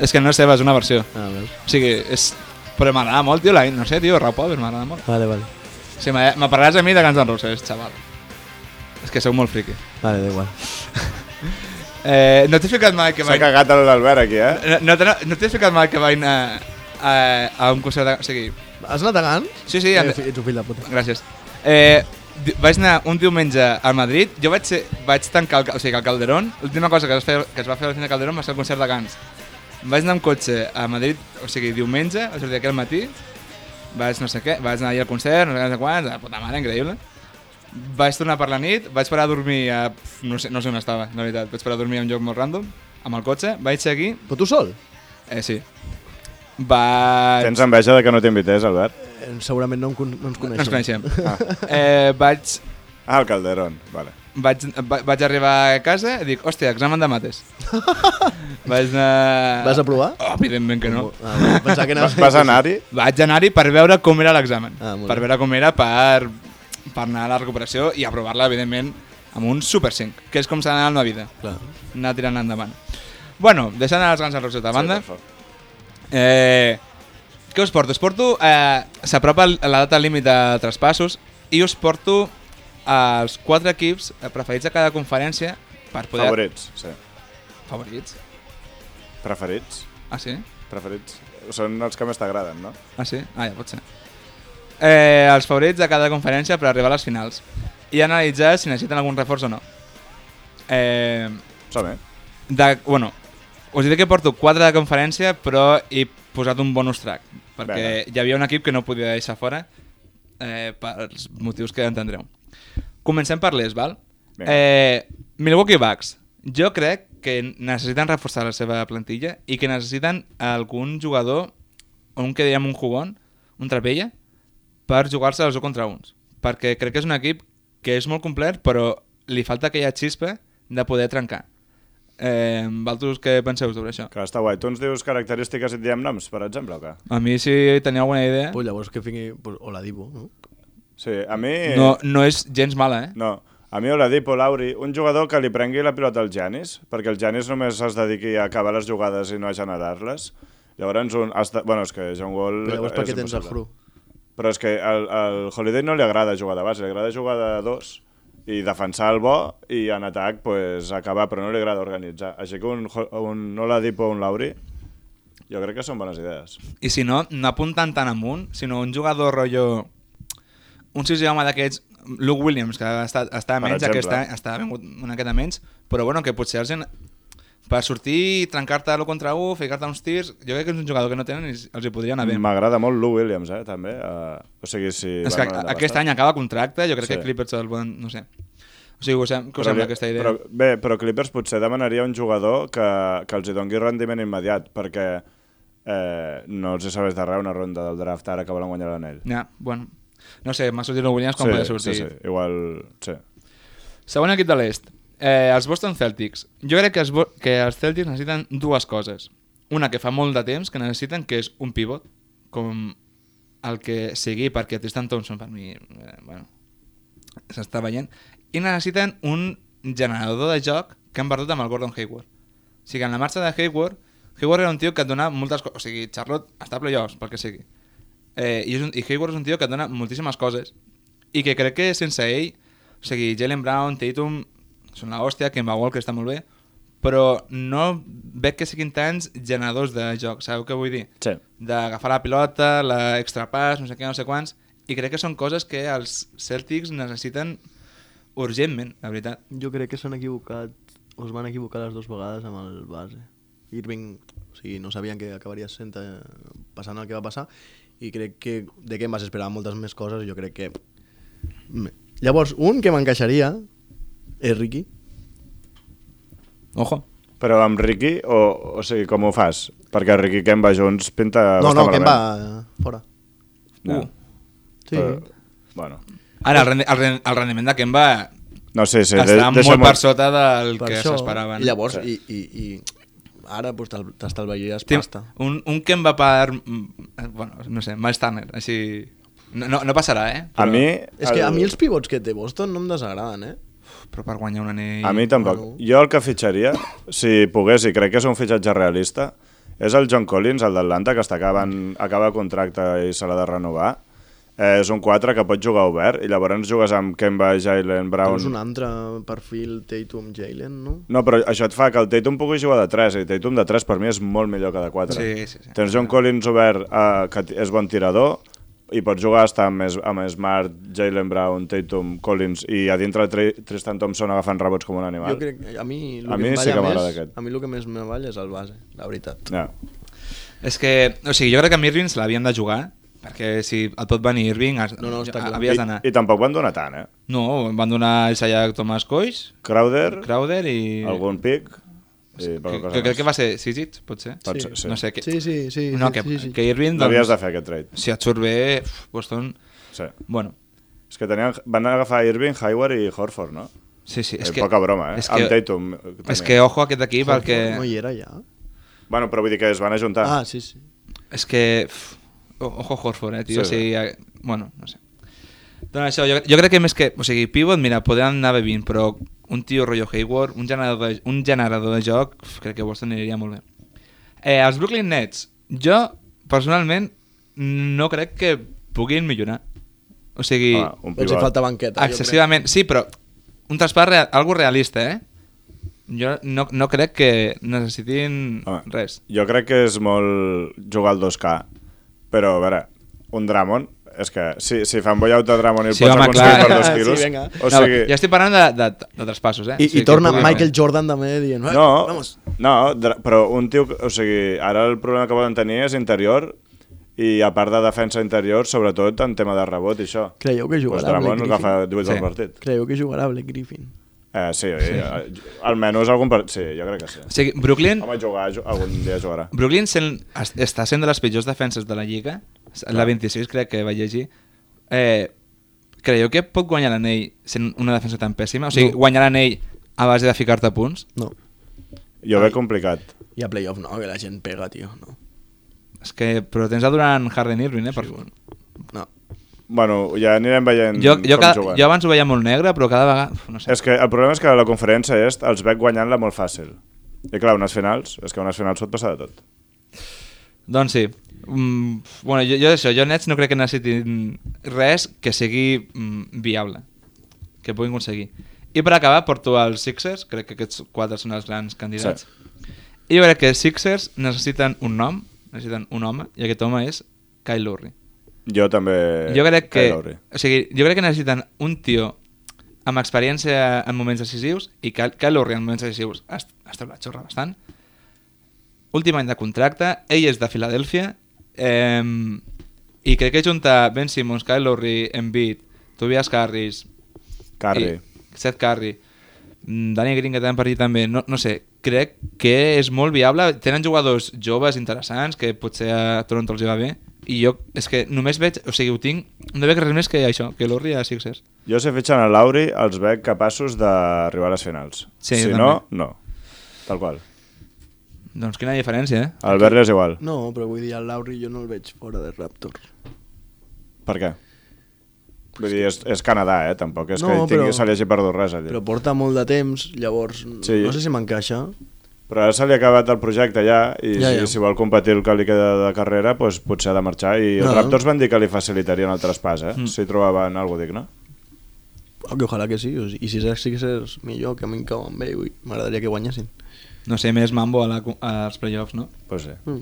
E: És que no és seva, és una versió.
D: Ah, veus?
E: O sigui, és... Però m'agrada molt, tio, la... no sé, tio, Rap Over m'agrada molt.
D: Vale, vale.
E: O sigui, m'ha- m'aparlaràs a mi de Guns N' Roses, xaval. És que sou molt friqui.
D: Vale, da igual.
E: Eh, no t'he ficat mai que
B: S'ha
E: vaig...
B: cagat l'Albert aquí, eh?
E: No, no, t'he- no t'he ficat mai que vaig anar a, a un concert de... O sigui,
D: Has anat a Gans?
E: sí, sí, en...
D: Eh, fi- Ets un fill de puta.
E: gràcies. Eh, di- vaig anar un diumenge a Madrid, jo vaig, ser, vaig tancar el, ca- o sigui, que el Calderón, l'última cosa que es, feia, que es va fer a la cine Calderón va ser el concert de Gans. Vaig anar amb cotxe a Madrid, o sigui, diumenge, o sigui, aquell matí, vaig no sé què, vaig anar allà al concert, no sé què, no sé quants, de puta mare, increïble. Vaig tornar per la nit, vaig parar a dormir a... pf, No sé, no sé on estava, la veritat. Vaig parar a dormir a un lloc molt random, amb el cotxe, vaig seguir...
D: Però tu sol?
E: Eh, sí. Vaig...
B: Tens enveja de que no t'invités, Albert?
D: Eh, Segurament no, em con no ens
E: No
D: coneixem.
E: ens coneixem. Eh, vaig,
B: Ah, el Calderón, vale.
E: vaig, va- vaig arribar a casa i dic, hòstia, examen de mates. vaig anar...
D: Vas a provar?
E: Oh, evidentment que no.
D: Ah, vale. Pensava que
B: Vas,
D: anaves...
B: vas anar-hi?
E: Vaig anar-hi per veure com era l'examen.
D: Ah, molt
E: per
D: bé.
E: veure com era per, per anar a la recuperació i aprovar-la, evidentment, amb un super 5, que és com s'ha d'anar a la vida.
D: Clar.
E: Anar tirant endavant. Bueno, deixant els Guns N' Roses de banda,
B: Sí, per favor.
E: Eh, què us porto? Us porto... Eh, S'apropa l- la data límit de traspassos i us porto els quatre equips preferits de cada conferència per poder...
B: Favorits, sí.
E: Favorits?
B: Preferits?
E: Ah, sí?
B: Preferits? Són els que més t'agraden, no?
E: Ah, sí? Ah, ja pot ser. Eh, els favorits de cada conferència per arribar a les finals. i analitzar si necessiten algun reforç o no. Eh,
B: Som, eh?
E: de, bueno, us diré que porto 4 de conferència, però he posat un bonus track, perquè
B: Vinga.
E: hi havia un equip que no podia deixar fora eh, pels motius que entendreu. Comencem per l'est, val?
B: Vinga.
E: Eh, Milwaukee Bucks. Jo crec que necessiten reforçar la seva plantilla i que necessiten algun jugador, un que dèiem un jugón, un trapella, per jugar-se els 1 contra uns. Perquè crec que és un equip que és molt complet, però li falta aquella xispa de poder trencar. Eh, Valtros, què penseu sobre això?
B: Que està guai. Tu ens dius característiques i et diem noms, per exemple, o què?
E: A mi, si teniu alguna idea,
D: Pues llavors que vingui pues, Oladipo, no?
B: Sí, a mi...
E: no, no és gens mala, eh?
B: eh, No. A mi Oladipo, Lauri, un jugador que li prengui la pilota al Janis, perquè el Janis només es dediqui a acabar les jugades i no a generar-les. Llavors, un... Has de... Bueno, és que John Wall...
D: Però llavors
B: és
D: per què tens el
B: impossible.
D: Fru?
B: Però és que al, al Holiday no li agrada jugar de base, li agrada jugar de dos i defensar el bo i en atac pues, acabar, però no li agrada organitzar. Així que un, Ho- un Oladipo o un Lauri jo crec que són bones idees.
E: I si no, no apuntant tant amunt, sinó un jugador rotllo... Un sisè home d'aquests, Luke Williams, que ha estat, està
B: Per
E: menys
B: exemple.
E: aquest any, està vengut una miqueta menys, però bueno, que potser els... En... Per sortir i trencar-te l'1 contra 1, ficar-te uns tirs, jo crec que és un jugador que no tenen i els hi podria anar bé.
B: M'agrada molt Lou Williams, eh, també. Uh, o sigui, si...
E: És
B: van
E: que
B: una de
E: aquest
B: bastant.
E: any acaba contracte, jo crec
B: Sí.
E: que Clippers el poden... No sé. O sigui, us sem- què us
B: Però
E: sembla
B: li-
E: aquesta idea?
B: Però, bé, però Clippers potser demanaria un jugador que, que els hi dongui rendiment immediat, perquè eh, no els hi serveix de res una ronda del draft ara que volen guanyar l'anell.
E: Ja, bueno. No sé, m'ha sortit el Williams com
B: sí,
E: podia sortir.
B: Sí, sí, igual... Sí.
E: Segon equip de l'est, eh, els Boston Celtics. Jo crec que els, bo- que els Celtics necessiten dues coses. Una que fa molt de temps que necessiten, que és un pivot, com el que sigui, perquè Tristan Thompson per mi eh, bueno, s'està veient, i necessiten un generador de joc que han perdut amb el Gordon Hayward. O sigui, en la marxa de Hayward, Hayward era un tio que et donava moltes coses. O sigui, Charlotte està a playoffs, pel que sigui. Eh, i, és un, I Hayward és un tio que et dona moltíssimes coses i que crec que sense ell, o sigui, Jalen Brown, Tatum, són la hòstia, Kemba Walker està molt bé, però no veig que siguin tants generadors de joc, sabeu què vull dir?
B: Sí.
E: D'agafar la pilota, l'extrapàs, no sé què, no sé quants, i crec que són coses que els Celtics necessiten urgentment, la veritat.
D: Jo crec que s'han equivocat, o es van equivocar les dues vegades amb el base. Irving, o sigui, no sabien que acabaria sent eh, passant el que va passar i crec que de què em vas esperar moltes més coses, jo crec que... Mm. Llavors, un que m'encaixaria és Ricky.
E: Ojo.
B: Però amb Ricky, o, o sigui, com ho fas? Perquè Ricky i Kemba junts pinta...
D: No, no,
B: bastant
D: que em
B: Ah, malament.
D: va fora.
E: No.
B: No.
D: Sí.
B: Però- Bueno.
E: Ara, el, rendi el, ren- el rendiment de Kemba
B: No sé, sí,
E: està
B: de, deixa
E: molt per sota del
D: Per
E: que
D: això,
E: s'esperava. no?
D: I llavors,
B: Sí.
D: i, i, i ara pues, t'estal- t'estalviaries
E: Té
D: pasta.
E: un, un que em va per... mm, Bueno, no sé, Miles Turner, així... No, no, no passarà, eh?
B: A mi...
D: És que a mi els pivots que té Boston no em desagraden, eh?
E: Però per guanyar un anell...
B: A mi tampoc.
D: Bueno.
B: Jo el que fitxaria, si pogués, i crec que és un fitxatge realista, és el John Collins, el d'Atlanta, que està acabant, acaba contracte i se l'ha de renovar. Eh, és un 4 que pot jugar obert i llavors jugues amb Kemba, Jalen,
D: Però
B: Brown...
D: és un altre perfil Tatum Jalen, no?
B: No, però això et fa que el Tatum pugui jugar de 3 i Tatum de 3 per mi és molt millor que de 4.
E: Sí, sí, sí.
B: Tens John Collins obert, eh, que t- és bon tirador, i pots jugar hasta amb, es- amb Smart, Jalen Brown, Tatum, Collins i a dintre el Tri- Tristan Thompson agafant rebots com un animal.
D: Jo crec que a mi el
B: A
D: que
B: mi
D: em
B: sí que
D: balla
B: m'agrada
D: més,
B: aquest.
D: A mi el que més me balla és el base, la veritat.
B: Ja.
E: És que, o sigui, jo crec que amb Irving se l'havien de jugar, perquè si et pot venir Irving, has,
D: No, no, està clar.
E: havies
B: I-
E: d'anar.
B: I tampoc van donar tant, eh?
E: No, van donar el Sayac Tomàs Coix,
B: Crowder,
E: Crowder i...
B: algun pic... I
E: Que,
B: poca cosa
E: que crec
B: més.
E: que va ser Sigit, potser?
B: Pot ser, sí.
E: No sé, que,
D: Sí, sí, sí,
E: no,
D: sí,
E: que,
D: sí, sí.
E: que Irving,
B: No havies
E: doncs,
B: de fer aquest trade.
E: si et surt bé, uf, Boston...
B: Sí.
E: Bueno,
B: És que tenien, van agafar Irving, Hayward i Horford, no?
E: sí, sí. És
B: Eh,
E: que,
B: poca broma, eh?
E: És
B: Amb
E: que,
B: Tatum. eh,
E: és
B: tenien.
E: que ojo aquest equip, el que...
D: No hi era ja?
B: Bueno, però vull dir que es van ajuntar.
D: Ah, sí, sí.
E: És que... pf, o- Ojo Horford, eh, tio.
B: Sí,
E: Sí, o sigui, eh, bueno, no sé. Doncs això, jo, jo crec que més que... O sigui, pivot, mira, podem anar bevint, però un tio rotllo Hayward, un generador de, un generador de joc, uf, crec que Boston aniria molt bé. Eh, els Brooklyn Nets, jo, personalment, no crec que puguin millorar. O sigui,
B: Ah, un
D: Però els hi
B: pivot.
D: falta banqueta,
E: excessivament... Sí, però un traspàs, real, algo realista, eh? Jo no, no crec que necessitin
B: Home,
E: res.
B: Jo crec que és molt jugar al 2K, però a veure, un Dramon És que si, si fanboyau de Drummond i el
E: Sí,
B: pots
E: home,
B: reconstruir
E: clar.
B: per dos
D: Sí,
B: quilos...
D: vinga.
B: o sigui,
E: no, ja estic parlant de, de, de traspassos, eh?
D: I,
E: O
D: i
E: sigui que
D: torna
E: pugui-
D: Michael Jordan també dient... "Eh,
B: No,
D: Vamos.
B: no, dra- però un tio... que- O sigui, ara el problema que poden tenir és interior i a part de defensa interior, sobretot en tema de rebot i això.
D: Creieu que
B: Pues
D: jugarà
B: Dramon
D: Blake
B: agafa
D: Griffin?
B: 18 sí.
E: Sí.
B: al partit.
D: Creieu que jugarà Blake Griffin?
B: Eh, sí, sí. Eh, almenys algun partit. Sí, jo crec que sí.
E: O sigui, Brooklyn,
B: Home, jugar, ju- algun dia jugarà.
E: Brooklyn sent, es- està sent de les pitjors defenses de la Lliga. La 26 crec que va llegir. Eh, creieu que pot guanyar l'anell sent una defensa tan pèssima? O sigui,
D: No.
E: guanyar l'anell a base de ficar-te punts?
D: No.
B: Jo veig complicat.
D: I a playoff no, que la gent pega, tio. No.
E: És que, però tens a Durant Harden Irving, eh? Per...
D: no.
B: Bueno, ja anirem veient
E: Jo, jo,
B: com
E: cada,
B: juguen.
E: jo abans ho veia molt negre, però cada vegada... Uf, no sé.
B: És que el problema és que la conferència est els veig guanyant-la molt fàcil. I clar, unes finals, és que unes finals pot passar de tot.
E: Doncs sí. Mm, bueno, jo, jo això, jo Nets no crec que necessitin res que sigui mm, viable, que puguin aconseguir. I per acabar porto els Sixers, crec que aquests quatre són els grans candidats. I jo crec que els Sixers necessiten un nom, necessiten un home, i aquest home és Kyle Lowry.
B: Jo també...
E: jo crec que,
B: Kyle Lowry.
E: o sigui, jo crec que necessiten un tio amb experiència en moments decisius i Kyle Kyle Lowry en moments decisius ha est- ha estat la xorra bastant. Últim any de contracte, ell és de Filadèlfia eh, i crec que juntar Ben Simmons, Kyle Lowry, Embiid, Tobias Harris,
B: Curry.
E: i Seth Curry, mm, Danny Green que tenen per allí també, no, no sé, crec que és molt viable, tenen jugadors joves interessants que potser a Toronto els hi va bé i jo és que només veig, o sigui, ho tinc, no veig res més que això, que l'Orri a Sixers.
B: Jo si fitxen a Lauri els veig capaços d'arribar a les finals.
E: Sí,
B: si
E: jo
B: no, no. Tal qual.
E: Doncs quina diferència, eh?
B: El Berli és igual.
D: No, però vull dir, el Lauri jo no el veig fora de Raptors.
B: Per què? Vull dir, és, és Canadà, eh? Tampoc és
D: No,
B: que tingui,
D: però-
B: se li hagi perdut res allà.
D: Però porta molt de temps, llavors
B: Sí.
D: sí. no sé si m'encaixa.
B: Però ara se li ha acabat el projecte ja i
D: Ja,
B: ja, ja.
D: ja.
B: Si, si vol competir el que li queda de carrera doncs potser ha de marxar i no.
D: No.
B: els Raptors van dir que li facilitarien el traspàs eh? mm. si trobaven alguna digne
D: Oh, que ojalà que sí, o sigui, i si és els Sixers millor, que a mi em cauen bé, ui, m'agradaria que guanyessin.
E: No sé, més mambo a la, co- als playoffs, no?
B: pues sí.
D: Mm.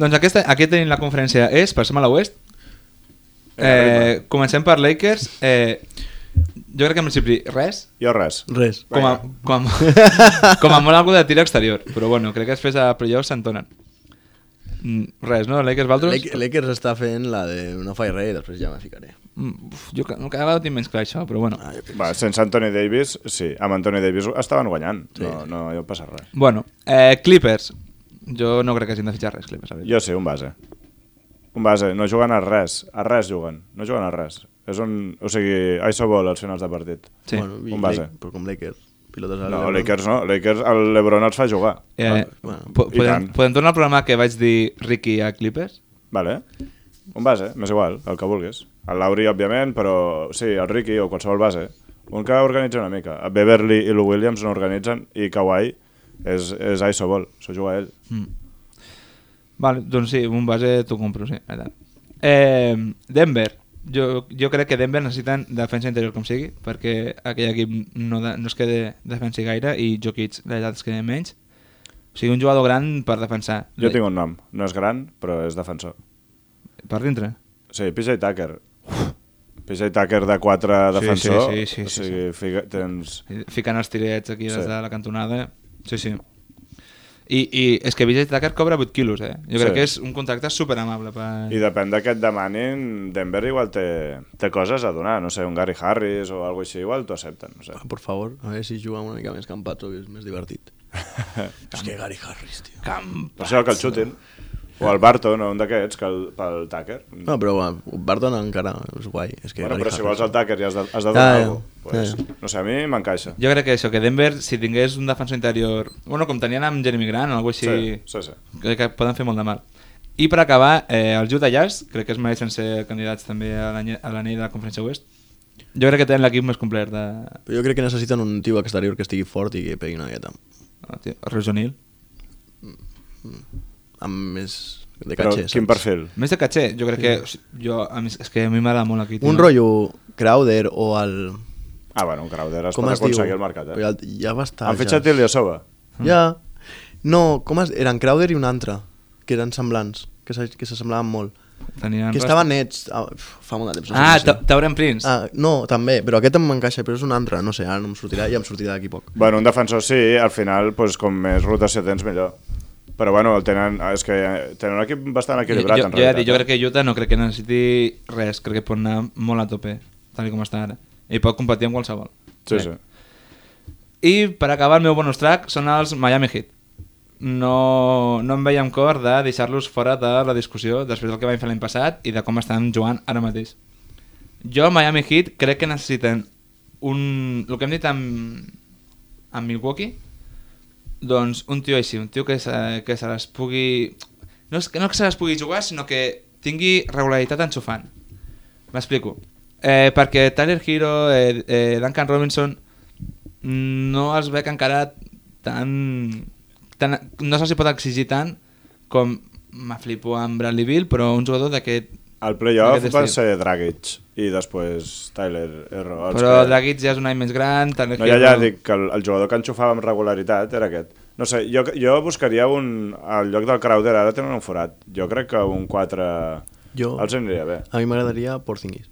E: Doncs aquesta, aquí tenim la conferència és, passem a la West. Eh, comencem per Lakers. Eh, jo crec que en principi res,
B: jo res
D: Res.
E: com a, com, com a molt algú de tir exterior. Però bueno, crec que després a playoffs s'entonen. Mm, Res, no? Lakers, Valtros?
D: Lake- Lakers està fent la de no faig res i després ja me ficaré.
E: Mm, uf, jo ca- cada vegada ho tinc menys clar això, però bueno.
D: Ah, jo què sé.
B: Va, sense Anthony Davis, sí, amb Anthony Davis estaven guanyant, sí. no, no hi ha passat res.
E: Bueno, eh, Clippers. Jo no crec que hagin de fitxar res, Clippers. la veritat.
B: Jo sí, un base. Un base, no juguen a res, a res juguen, no juguen a res. És un... O sigui, això vol als finals de partit.
E: Sí.
D: i
B: un base.
D: Lake- Però com Lakers, pilotes a
B: No, Lakers no, Lakers, el Lebron els fa jugar.
E: Eh,
D: Bueno,
E: po-
B: i
E: podem,
B: tant.
E: podem tornar al programa que vaig dir Ricky a Clippers?
B: Vale. Un base, m'és igual, el que vulguis. El Lauri, òbviament, però sí, el Ricky o qualsevol base. Un que organitza una mica. Beverly i Lou Williams no organitzen i Kawhi és, és Isobol, s'ho juga ell.
E: Mm. Vale, doncs sí, un base t'ho compro, sí. i tant. Eh, Denver. Jo, jo crec que Denver necessiten defensa interior com sigui, perquè aquell equip no, de, no es quede defensi gaire i Jokic, la veritat, es queda menys. O sigui, un jugador gran per defensar.
B: Jo tinc un nom, no és gran, però és defensor.
E: Per dintre.
B: Sí, PJ Tucker. PJ Tucker de 4
E: Sí,
B: defensor.
E: sí, sí, sí,
B: o
E: sí,
B: sigui, Fica, tens...
E: Ficant els tirets aquí
B: Sí.
E: sí. des de la cantonada. Sí, sí. I, i és que Vijay Tucker cobra 8 quilos, eh? Jo crec
B: Sí.
E: sí. que és un contracte superamable per...
B: I depèn de què et demanin, Denver igual té, té coses a donar, no sé, un Gary Harris o alguna així, igual t'ho accepten, no sé.
D: Ah, Por favor, a veure si juga una mica més Campato, que és més divertit. és que Gary Harris, tio.
B: Per això que el xutin. O el Barton, o un d'aquests, que el, pel Tucker.
D: No, però va, Barton encara és guai. És que
B: bueno,
D: Gary
B: però si
D: Harris-
B: vols el Tucker i has de, has de
D: Ja,
B: donar
D: ja,
B: alguna cosa. Pues,
D: ja, ja.
B: No sé, a mi m'encaixa.
E: Jo crec que això, que Denver, si tingués un defensor interior... Bueno, com tenien amb Jeremy Grant o alguna cosa
B: sí,
E: així...
B: sí. sí.
E: Crec que poden fer molt de mal. I per acabar, eh, els Utah Jazz, crec que es mereixen ser candidats també a l'any- a l'anell de la Conferència Oest. Jo crec que tenen l'equip més complet de...
D: Però jo crec que necessiten un tio exterior que estigui fort i que pegui una dieta.
E: Oh, tio, Roger O'Neal.
D: Amb més... De
B: Però
D: catxer,
B: quin perfil?
E: Més de caché, jo crec que... o sigui, Jo, a mi, és que a mi m'agrada molt aquí.
D: Un rotllo Crowder o el...
B: Ah, bueno, un Crowder es
D: Com
B: pot
D: es diu?
B: aconseguir al mercat, eh?
D: Però el- Ja va estar...
B: Han fitxat Iliosova.
D: Ja. No, com es... Eren Crowder i un altre, que eren semblants, que se, que se semblaven molt.
E: Tenien
D: Que
E: rest-
D: estava nets, ah, uf, fa molt de temps. no sé
E: Ah,
D: si-
E: Ta- Tauren Prince.
D: Ah, no, també, però aquest em encaixa, però és un altre, no sé, ara no em sortirà, ja em sortirà d'aquí poc.
B: Bueno, un defensor sí, al final, doncs, com més rotació tens, millor. Però bueno, el tenen, és que tenen un equip bastant equilibrat,
E: jo,
B: en
E: jo, ja
B: realitat. eh?
E: dic, jo crec que Utah no crec que necessiti res, crec que pot anar molt a tope, tal i com està ara. I pot competir amb qualsevol.
B: Sí,
E: Crec.
B: sí.
E: I per acabar el meu bonus track són els Miami Heat. No, no em veia amb cor de deixar-los fora de la discussió després del que van fer l'any passat i de com estan jugant ara mateix. Jo, Miami Heat, crec que necessiten un... El que hem dit amb, amb Milwaukee, doncs un tio així, un tio que se, que se les pugui... No, és, que no que se les pugui jugar, sinó que tingui regularitat enxufant. M'explico. Eh, perquè Tyler Hero, eh, eh, Duncan Robinson, no els veig encara tan... tan no se'ls hi pot exigir tant com me flipo amb Bradley Bill, però un jugador d'aquest...
B: El playoff
E: d'aquest
B: va
E: estil.
B: ser Dragic i després Tyler Herro. Els
E: Però
B: que-
E: Dragic ja és un any més gran, Tyler
B: No, ja, ja
E: Hero-
B: dic que el, el jugador que enxufava amb regularitat era aquest. No sé, jo, jo buscaria un... Al lloc del Crowder ara tenen un forat. Jo crec que un 4
D: Jo-
B: els aniria bé.
D: A mi m'agradaria Porzingis.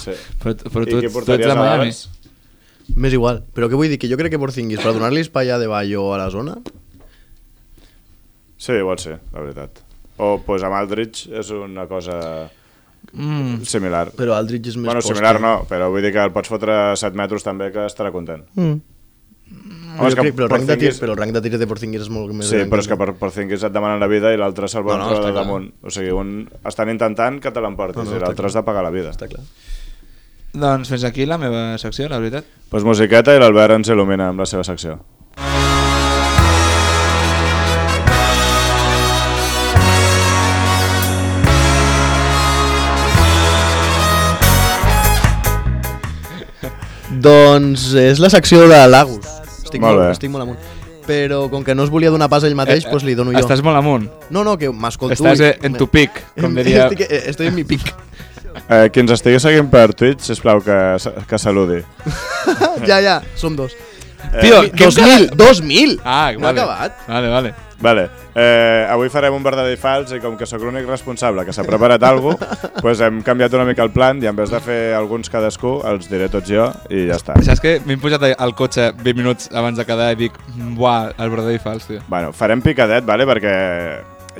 B: Sí.
E: Però, tu- però
B: I
E: tu,
B: qui
E: ets- tu ets
B: portaries
E: de
B: a
E: Miami.
B: Dallas?
D: M'és igual, però què vull dir? Que jo crec que Porzingis, per donar-li espai a De Bayo a la zona,
B: Sí, igual sí, la veritat. O pues, amb Aldrich és una cosa
E: Mm.
B: similar.
D: però Aldridge és més
B: Bueno,
D: poste.
B: similar no, però vull dir que el pots fotre 7 metres també que estarà content.
D: Mm.
B: Home, és
D: jo
B: que
D: crec, però, el rang de tir,
B: Porzingis-
D: però el rang de tir de Porzingis és molt més
B: Sí,
D: gran
B: però és que
D: el-
B: per, per Porzingis et demanen la vida i l'altre se'l vol
D: No, no,
B: no, no,
D: està
B: de
D: clar.
B: damunt. O sigui, un estan intentant que te l'emportis no,
D: No, no,
B: no, i
D: està
B: l'altre has de pagar la vida.
D: Està clar.
E: Doncs fins aquí la meva secció, la veritat.
B: Pues musiqueta i l'Albert ens il·lumina amb la seva secció.
D: Doncs és la secció de Lagos. Estic
B: Molt
D: molt,
B: bé.
D: estic molt amunt. Però com que no es volia donar pas ell mateix, doncs li dono jo.
E: Eh, Estàs molt amunt.
D: No, no, que m'escolto.
E: Estàs
D: i-
E: eh, en tu pic, com diria...
D: Estic, eh, estoy en mi pic.
B: Eh, qui ens estigui seguint per Twitch, sisplau, que, sa- que saludi.
D: ja, ja, som dos.
B: Eh,
E: Tio, que hem
D: 2000, 2000!
E: Ah,
D: no ha
E: vale.
D: acabat.
E: Vale, vale.
B: Vale, eh, avui farem un verdader i fals i com que sóc l'únic responsable que s'ha preparat alguna cosa, pues hem canviat una mica el plan i en vez de fer alguns cadascú, els diré tots jo i ja està.
E: Saps que m'he pujat al cotxe 20 minuts abans de quedar i dic, "Mm, buah, el verdader i fals, tio.
B: Bueno, farem picadet, vale? perquè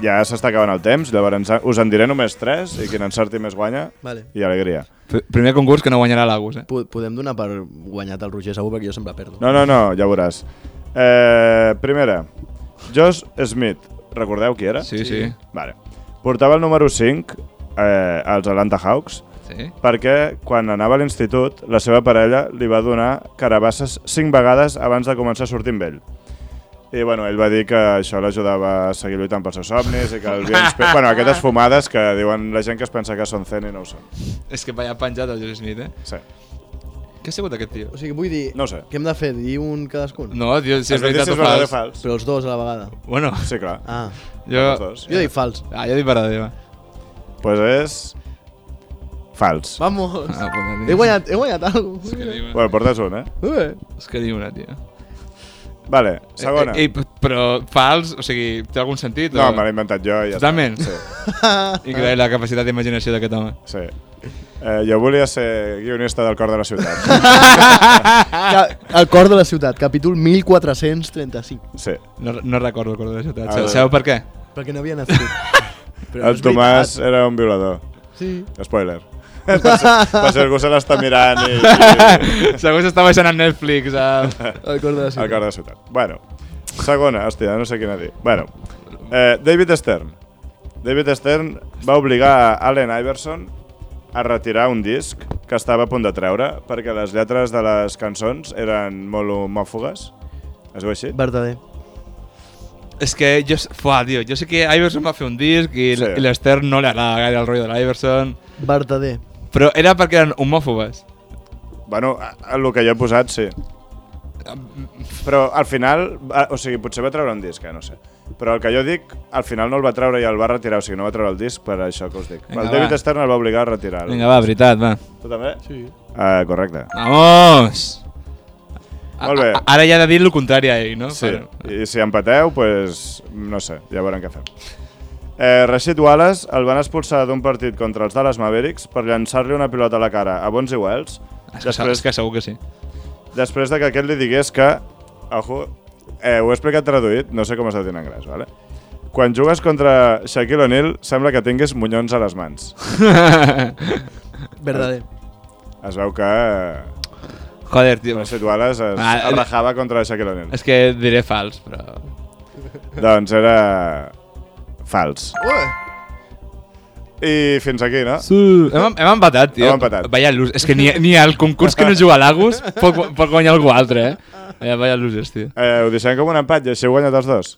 B: ja s'està acabant el temps, llavors us en diré només tres i qui n'encerti més guanya
D: Vale.
B: i alegria.
E: Pr- Primer concurs que no guanyarà l'Agus, eh?
D: Po- Podem donar per guanyat el Roger segur perquè jo sempre perdo.
B: No, no, no, ja veuràs. Eh, primera, Josh Smith. Recordeu qui era?
E: Sí, sí.
B: Vale. Portava el número 5 eh, als Atlanta Hawks
E: Sí?
B: perquè quan anava a l'institut la seva parella li va donar carabasses 5 vegades abans de començar a sortir amb ell. I bueno, ell va dir que això l'ajudava a seguir lluitant pels seus somnis i que el havia inspirat... bueno, aquestes fumades que diuen la gent que es pensa que són zen i no ho són.
E: És que vaya penjat el Josh Smith, eh?
B: Sí.
E: Què ha sigut aquest tio?
D: O sigui, vull dir...
B: No ho sé.
D: Què hem de fer? Dir un cadascun?
E: No, tio, si
B: Has
E: és
B: de dir
E: veritat
B: si
E: o
B: és verdad o
E: fals.
B: fals.
D: Però els dos a la vegada.
E: Bueno,
B: Sí, clar.
D: Ah,
B: Els
E: jo...
B: dos.
D: jo dic fals.
E: Ah, jo dic verdader, va.
B: Pues és... Fals.
D: Vamos!
E: Ah, pues,
D: he guanyat, he guanyat alguna
E: És que
D: cosa.
E: diu una,
B: Bueno, portes un, eh?
E: és que diu una tio.
B: Vale, segona.
E: Eh, eh, p- però fals, o sigui, té algun sentit?
B: no,
E: o...
B: me l'he inventat jo i ja
E: Totalment.
B: està.
E: Increïble la capacitat d'imaginació d'aquest home.
B: Sí, sí. Eh, jo volia ser guionista del cor de la ciutat.
D: El cor de la ciutat, capítol 1435.
B: Sí.
E: No, no recordo el cor de la ciutat.
B: Ah,
E: Sabeu, sabeu per què?
D: Perquè no havia nascut. Però
B: El
D: és
B: Tomàs
D: veritat.
B: era un violador.
D: Sí.
B: Spoiler. per, si, per si algú se l'està mirant i, i
E: Segur que s'està baixant a Netflix. A...
D: El cor de la
B: el
D: ciutat.
B: cor de la ciutat. Bueno, segona, hòstia, no sé quina dir. Bueno, eh, David Stern. David Stern va obligar a Allen Iverson a retirar un disc que estava a punt de treure perquè les lletres de les cançons eren molt homòfogues. Es diu així?
D: Verdader.
E: És que jo... s- Fuà, tio, jo sé que Iverson va fer un disc i,
B: Sí.
E: sí. i l'Ester no li agrada gaire el rotllo de l'Iverson,
D: Verdader.
E: però era perquè eren homòfobes.
B: Bueno, a- a lo que jo he posat, sí. Però al final, va- o sigui, potser va treure un disc, eh? no sé. Però el que jo dic, al final no el va treure i el va retirar, o sigui, no va treure el disc per això que us dic.
E: Vinga,
B: el David
E: va.
B: Stern el va obligar a retirar.
E: Vinga, va, veritat, va.
B: Tu també?
D: Sí.
B: Uh, correcte.
E: Vamos! A-
B: Molt bé.
E: a- Ara ja ha de dir el contrari a ell, no?
B: Sí.
E: Però-
B: I si empateu, doncs, pues, no sé, ja veurem què fem. Eh, Rashid Wallace el van expulsar d'un partit contra els Dallas Mavericks per llançar-li una pilota a la cara a Bonzi Wells
E: És que,
B: després,
E: és que segur que sí.
B: després de que aquest li digués que... Ojo, eh, ho he explicat traduït, no sé com està dit en anglès, vale? Quan jugues contra Shaquille O'Neal sembla que tinguis munyons a les mans.
D: Verdader.
B: Es veu que eh,
E: Joder, tio.
B: Rashid Wallace es,
E: Ah,
B: es rajava contra Shaquille O'Neal.
E: És que diré fals, però...
B: Doncs era... fals.
D: Ué!
B: I fins aquí, no?
E: Sí. Hem, hem empatat, tio.
B: Ah. Hem empatat.
E: Vaya losers. És que ni, ni al concurs que no juga l'Agus pot, gu- pot guanyar algú altre, eh? eh vaya losers, tio.
B: Eh, ho deixem com un empat i així heu guanyat els dos.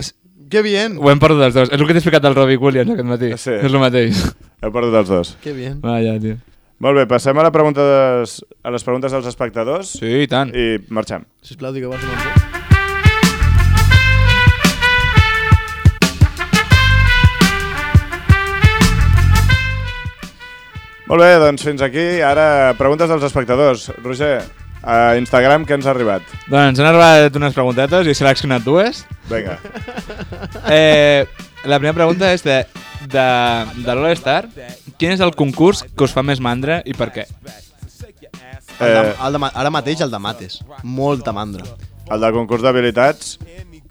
D: Que bien!
E: Ho hem perdut els dos. És el que t'he explicat del Robbie Williams aquest matí.
B: Sí.
E: És el mateix.
B: Heu perdut els dos.
D: Que bien.
E: Vaja, tio.
B: Molt bé, passem a, la pregunta des, a les preguntes dels espectadors
E: Sí, i tant.
B: i marxem.
D: Sisplau, digueu vas un
B: Molt bé, doncs fins aquí. Ara, preguntes dels espectadors. Roger, a Instagram, què ens ha arribat?
E: Doncs han arribat unes preguntetes i he seleccionat dues.
B: Vinga.
E: Eh, la primera pregunta és de, de, de l'All Star. Quin és el concurs que us fa més mandra i per què?
D: el de,
B: Eh,
D: el de, ma- ara mateix el de mates. Molta mandra.
B: el del concurs d'habilitats,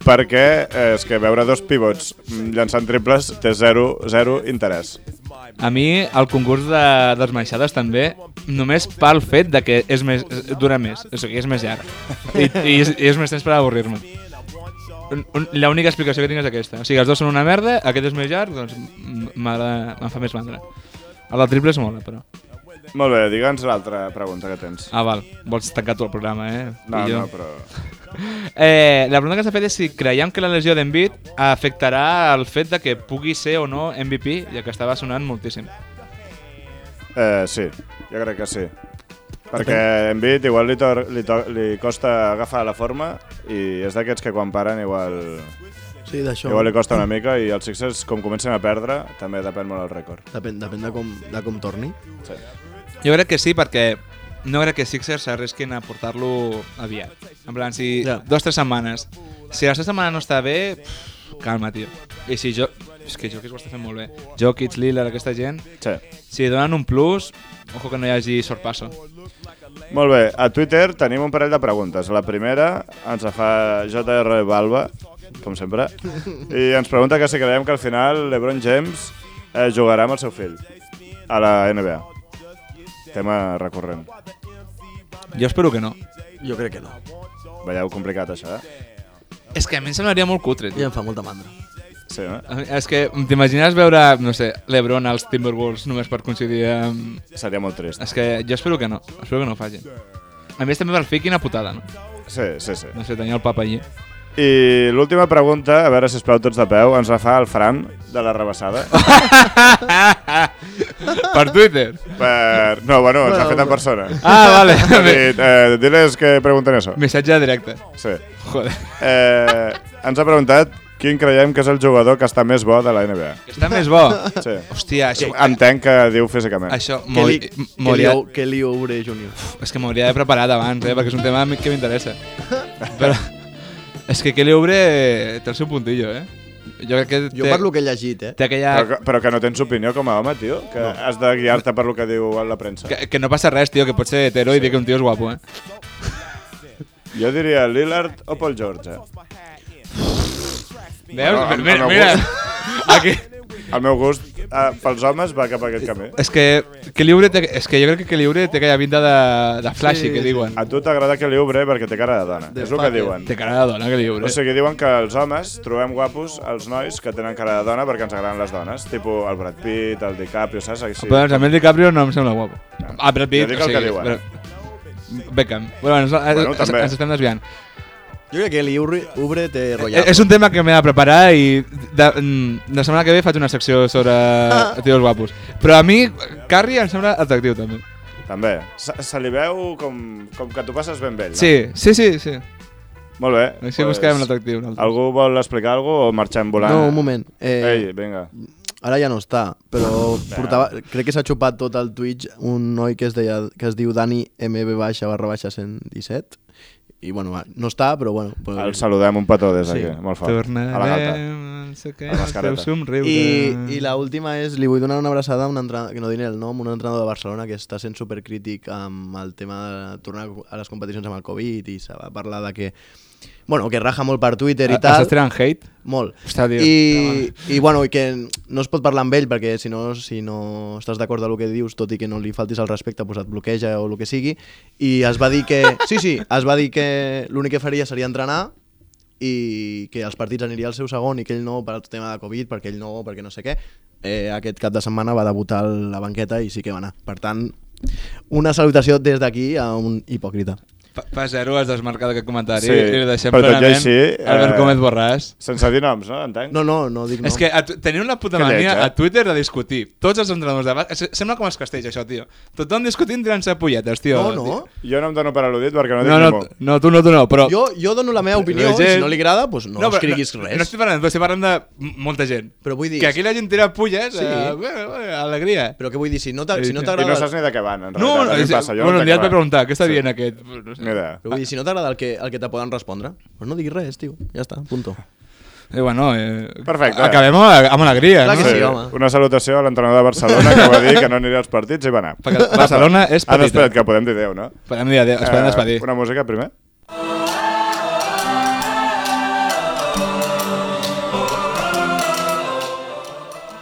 B: perquè eh, és que veure dos pivots mm, llançant triples té zero, zero interès.
E: A mi el concurs de, dels maixades també, només pel fet de que és més, dura més, o sigui, és més llarg. I, i, és, i és més temps per avorrir-me. Un- un- L'única explicació que tinc és aquesta. O sigui, els dos són una merda, aquest és més llarg, doncs m- m'agrada- em fa més mandra. El del triple és molt, però...
B: Molt bé, digue'ns l'altra pregunta que tens.
E: Ah, val, vols tancar tu el programa, eh?
B: No,
E: I jo.
B: no, però...
E: Eh, la pregunta que s'ha fet és si creiem que la lesió d'Embiid afectarà el fet de que pugui ser o no MVP, ja que estava sonant moltíssim.
B: Eh, sí, jo crec que sí. Perquè Embiid igual li, tor li, to li costa agafar la forma i és d'aquests que quan paren igual,
D: Sí, d'això.
B: igual li costa una mica i els Sixers com comencen a perdre també depèn molt el rècord.
D: Depèn, depèn de, com, de com torni.
B: Sí.
E: Jo crec que sí, perquè no crec que Sixers s'arrisquin a portar-lo aviat. En plan, si
D: Ja.
E: yeah. dues o tres setmanes. Si les tres setmanes no està bé, pff, calma, tio. I si jo... És que Jokic ho està fent molt bé. Jokic, Lillard, aquesta gent...
B: sí.
E: Si donen un plus, ojo que no hi hagi sorpasso.
B: Molt bé, a Twitter tenim un parell de preguntes. La primera ens la fa JR Balba, com sempre, i ens pregunta que si creiem que al final l'Ebron James eh, jugarà amb el seu fill a la NBA. Tema recurrent.
E: Jo espero que no.
D: Jo crec que no.
B: Veieu complicat això, eh?
E: És que a mi em semblaria molt cutre,
D: I
E: tio.
D: em fa molta mandra.
B: Sí, eh? no?
E: A mi- És que t'imagines veure, no sé, l'Ebron als Timberwolves només per coincidir amb...
B: Seria molt trist.
E: És que jo espero que no, espero que no ho facin. A més també per fer quina putada, no?
B: Sí, sí, sí.
E: No sé, tenia el papa allí.
B: I l'última pregunta, a veure si es plau tots de peu, ens la fa el Fran, de la rebassada.
E: per Twitter.
B: per... No, bueno, ens l'ha fet en persona.
E: Ah, vale.
B: Ha dit, eh, Diles que pregunten això.
E: Missatge directe.
B: Sí.
E: Joder.
B: Eh, ens ha preguntat quin creiem que és el jugador que està més bo de la NBA.
E: Està més bo.
B: Sí.
E: Hòstia, això...
B: Entenc que diu físicament.
E: Això
D: Que li, que li,
E: m'hauria...
D: ou- que li obre Junior.
E: És que m'hauria de preparat abans, eh? Perquè és un tema que m'interessa. Però... És que Kelly Oubre té el seu puntillo, eh? Jo crec que té,
D: Jo per lo que he llegit, eh?
E: té aquella...
B: Però, que- però que no tens opinió com a home, tio? Que no. has de guiar-te per lo que diu la premsa.
E: Que, que no passa res, tio, que pot ser hetero i dir que un tio és guapo, eh?
B: Jo diria Lillard o Paul George. Eh?
E: Veus?
B: Ah,
E: mira,
B: amb el
E: mira.
B: gust.
E: Aquí.
B: El meu gust eh, pels homes va cap a aquest camí.
E: És que, que Liure té, és que jo crec que Kelly Oubre té aquella pinta de, de
D: Sí,
E: flashy, que "Ah,
D: sí.
E: diuen.
B: A tu t'agrada que li obre eh, perquè té cara de dona. és el que diuen.
E: Té cara de dona, Kelly Oubre.
B: O sigui, diuen que els homes trobem guapos els nois que tenen cara de dona perquè ens agraden les dones. Tipo el Brad Pitt, el DiCaprio, saps? Així.
E: Però doncs, a mi el DiCaprio no em sembla guapo.
B: No.
E: Ah, Brad Pitt,
B: Jo dic el que diuen.
E: però- Beckham. Bueno, eh, ens, bueno, ens,
B: també.
E: ens estem desviant.
D: Jo crec que li obre, obre té
E: Eh,
D: rotllat.
E: És un tema que m'he de preparar i de, mm, la setmana que ve faig una secció sobre tios guapos. Però a mi, Carrie em sembla atractiu també.
B: També. Se, se li veu com, com que tu passes ben vell.
E: Sí, sí, sí. sí.
B: No? Molt bé.
E: Així busquem l'atractiu. nosaltres.
B: Algú vol explicar alguna o marxem volant?
D: No, un moment. Eh,
B: Ei, vinga.
D: Ara ja no està, però portava, crec que s'ha xupat tot el Twitch un noi que es, deia, que es diu Dani MB baixa barra baixa 117 I, bueno, va, no està, però, bueno... Però...
B: El saludem un petó des d'aquí,
D: Sí.
B: molt fort. A la gata.
E: Tornarem, no sé què,
B: A
E: el teu
B: mascareta.
E: somriure.
D: I, i la última és, li vull donar una abraçada a un entrenador, que no diré el nom, un entrenador de Barcelona que està sent supercrític amb el tema de tornar a les competicions amb el Covid i se va parlar de que, bueno, que raja molt per Twitter i tal.
E: Estàs tirant hate?
D: Molt.
E: Està, tio.
D: I, I, bueno, i que no es pot parlar amb ell perquè si no, si no estàs d'acord amb el que dius, tot i que no li faltis el respecte, pues et bloqueja o el que sigui. I es va dir que... Sí, sí, es va dir que l'únic que faria seria entrenar i que els partits aniria al seu segon i que ell no per el tema de Covid, perquè ell no, perquè no sé què. Eh, aquest cap de setmana va debutar a la banqueta i sí que va anar. Per tant, una salutació des d'aquí a un hipòcrita.
E: Pa, pa zero has desmarcat aquest comentari
B: Sí,
E: sí, i li deixem
B: però tot i
E: plenament
B: així, eh,
E: Albert Comet Borràs.
B: Sense dir noms, no? Entenc?
D: No, no, no dic no.
E: No. És que a, tu- teniu una puta
B: Que lleig,
E: mania
B: eh?
E: a Twitter de discutir. Tots els entrenadors de bàsquet... se- Sembla com els castells, això, tio. Tothom discutint tirant-se polletes, tio.
D: No, no.
B: Jo no em dono per al·ludit perquè no dic
E: No, no,
B: ningú.
E: no, tu no, tu no, però...
D: Jo, jo dono la meva opinió
E: La gent-
D: i si no li agrada, doncs no, no
E: però
D: escriguis
E: no,
D: res.
E: No estic parlant, però estic parlant de m- molta gent.
D: Però vull dir-
E: Que aquí la gent tira pulles,
D: Sí.
E: sí. eh, bueno, bueno, alegria.
D: Però què vull dir? Si no t'a- si no
B: I no
D: t'agrada
B: saps ni de què van, en
E: No,
B: realitat.
E: no,
B: a mi em
E: és,
B: passa, jo
E: bueno,
B: no
E: un dia et vaig
B: entenc
E: preguntar, què està dient aquest?
B: res. Ni idea.
D: però vull dir, si no t'agrada el que, el que te poden respondre, doncs no diguis res, tio. Ja està, punto.
E: Eh, bueno, eh,
B: Perfecte.
E: Acabem amb, amb alegria,
D: Clar
E: no?
D: que sí, home.
B: Una salutació a l'entrenador de Barcelona que va dir que no anirà als partits i va anar.
E: Perquè Barcelona és
B: Ah, no,
E: petita.
B: espera't, que podem dir 10, no?
E: Podem dir adéu, es podem despedir.
B: Eh, Una música primer?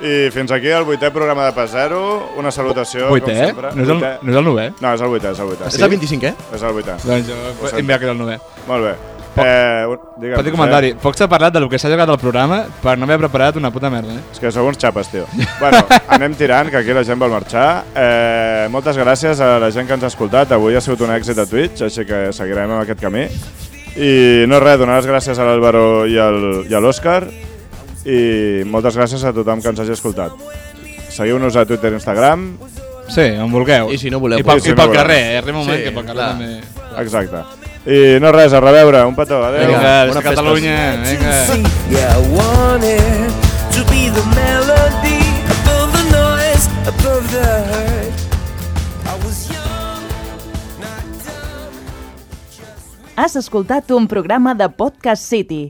B: I fins aquí el vuitè programa de Pas Zero. Una salutació,
E: Vuitè,
B: com
E: eh?
B: sempre.
E: No és el, no és el novè?
B: No, és el vuitè, és el vuitè.
D: Sí? És el 25, eh?
B: És el vuitè.
E: Doncs jo
B: sento.
E: hem que era el novè.
B: Molt bé. Eh, un- digue'm,
E: Petit
B: eh?
E: comentari, poc s'ha parlat del que s'ha jugat al programa per no haver preparat una puta merda, eh?
B: És que sou uns xapes, tio. bueno, anem tirant, que aquí la gent vol marxar. Eh, moltes gràcies a la gent que ens ha escoltat. Avui ha sigut un èxit a Twitch, així que seguirem amb aquest camí. I no res, donar les gràcies a l'Àlvaro i, al, i a l'Òscar. I moltes gràcies a tothom que ens hagi escoltat. Seguiu-nos a Twitter i Instagram.
E: Sí, on vulgueu.
D: I si no voleu,
E: I pel,
B: pues.
E: i pel
B: Sí,
E: carrer, eh? Arriba un moment
D: Sí,
E: que pel carrer
D: clar.
E: també...
B: Exacte. I no res, a reveure. Un petó. Adéu.
E: Vinga,
D: Vinga,
E: des
D: bona
E: de Catalunya, vinga.
F: Yeah, I want it to be the melody above the noise, above the hurt. I was young, not dumb. Just
A: Has escoltat un programa de Podcast City,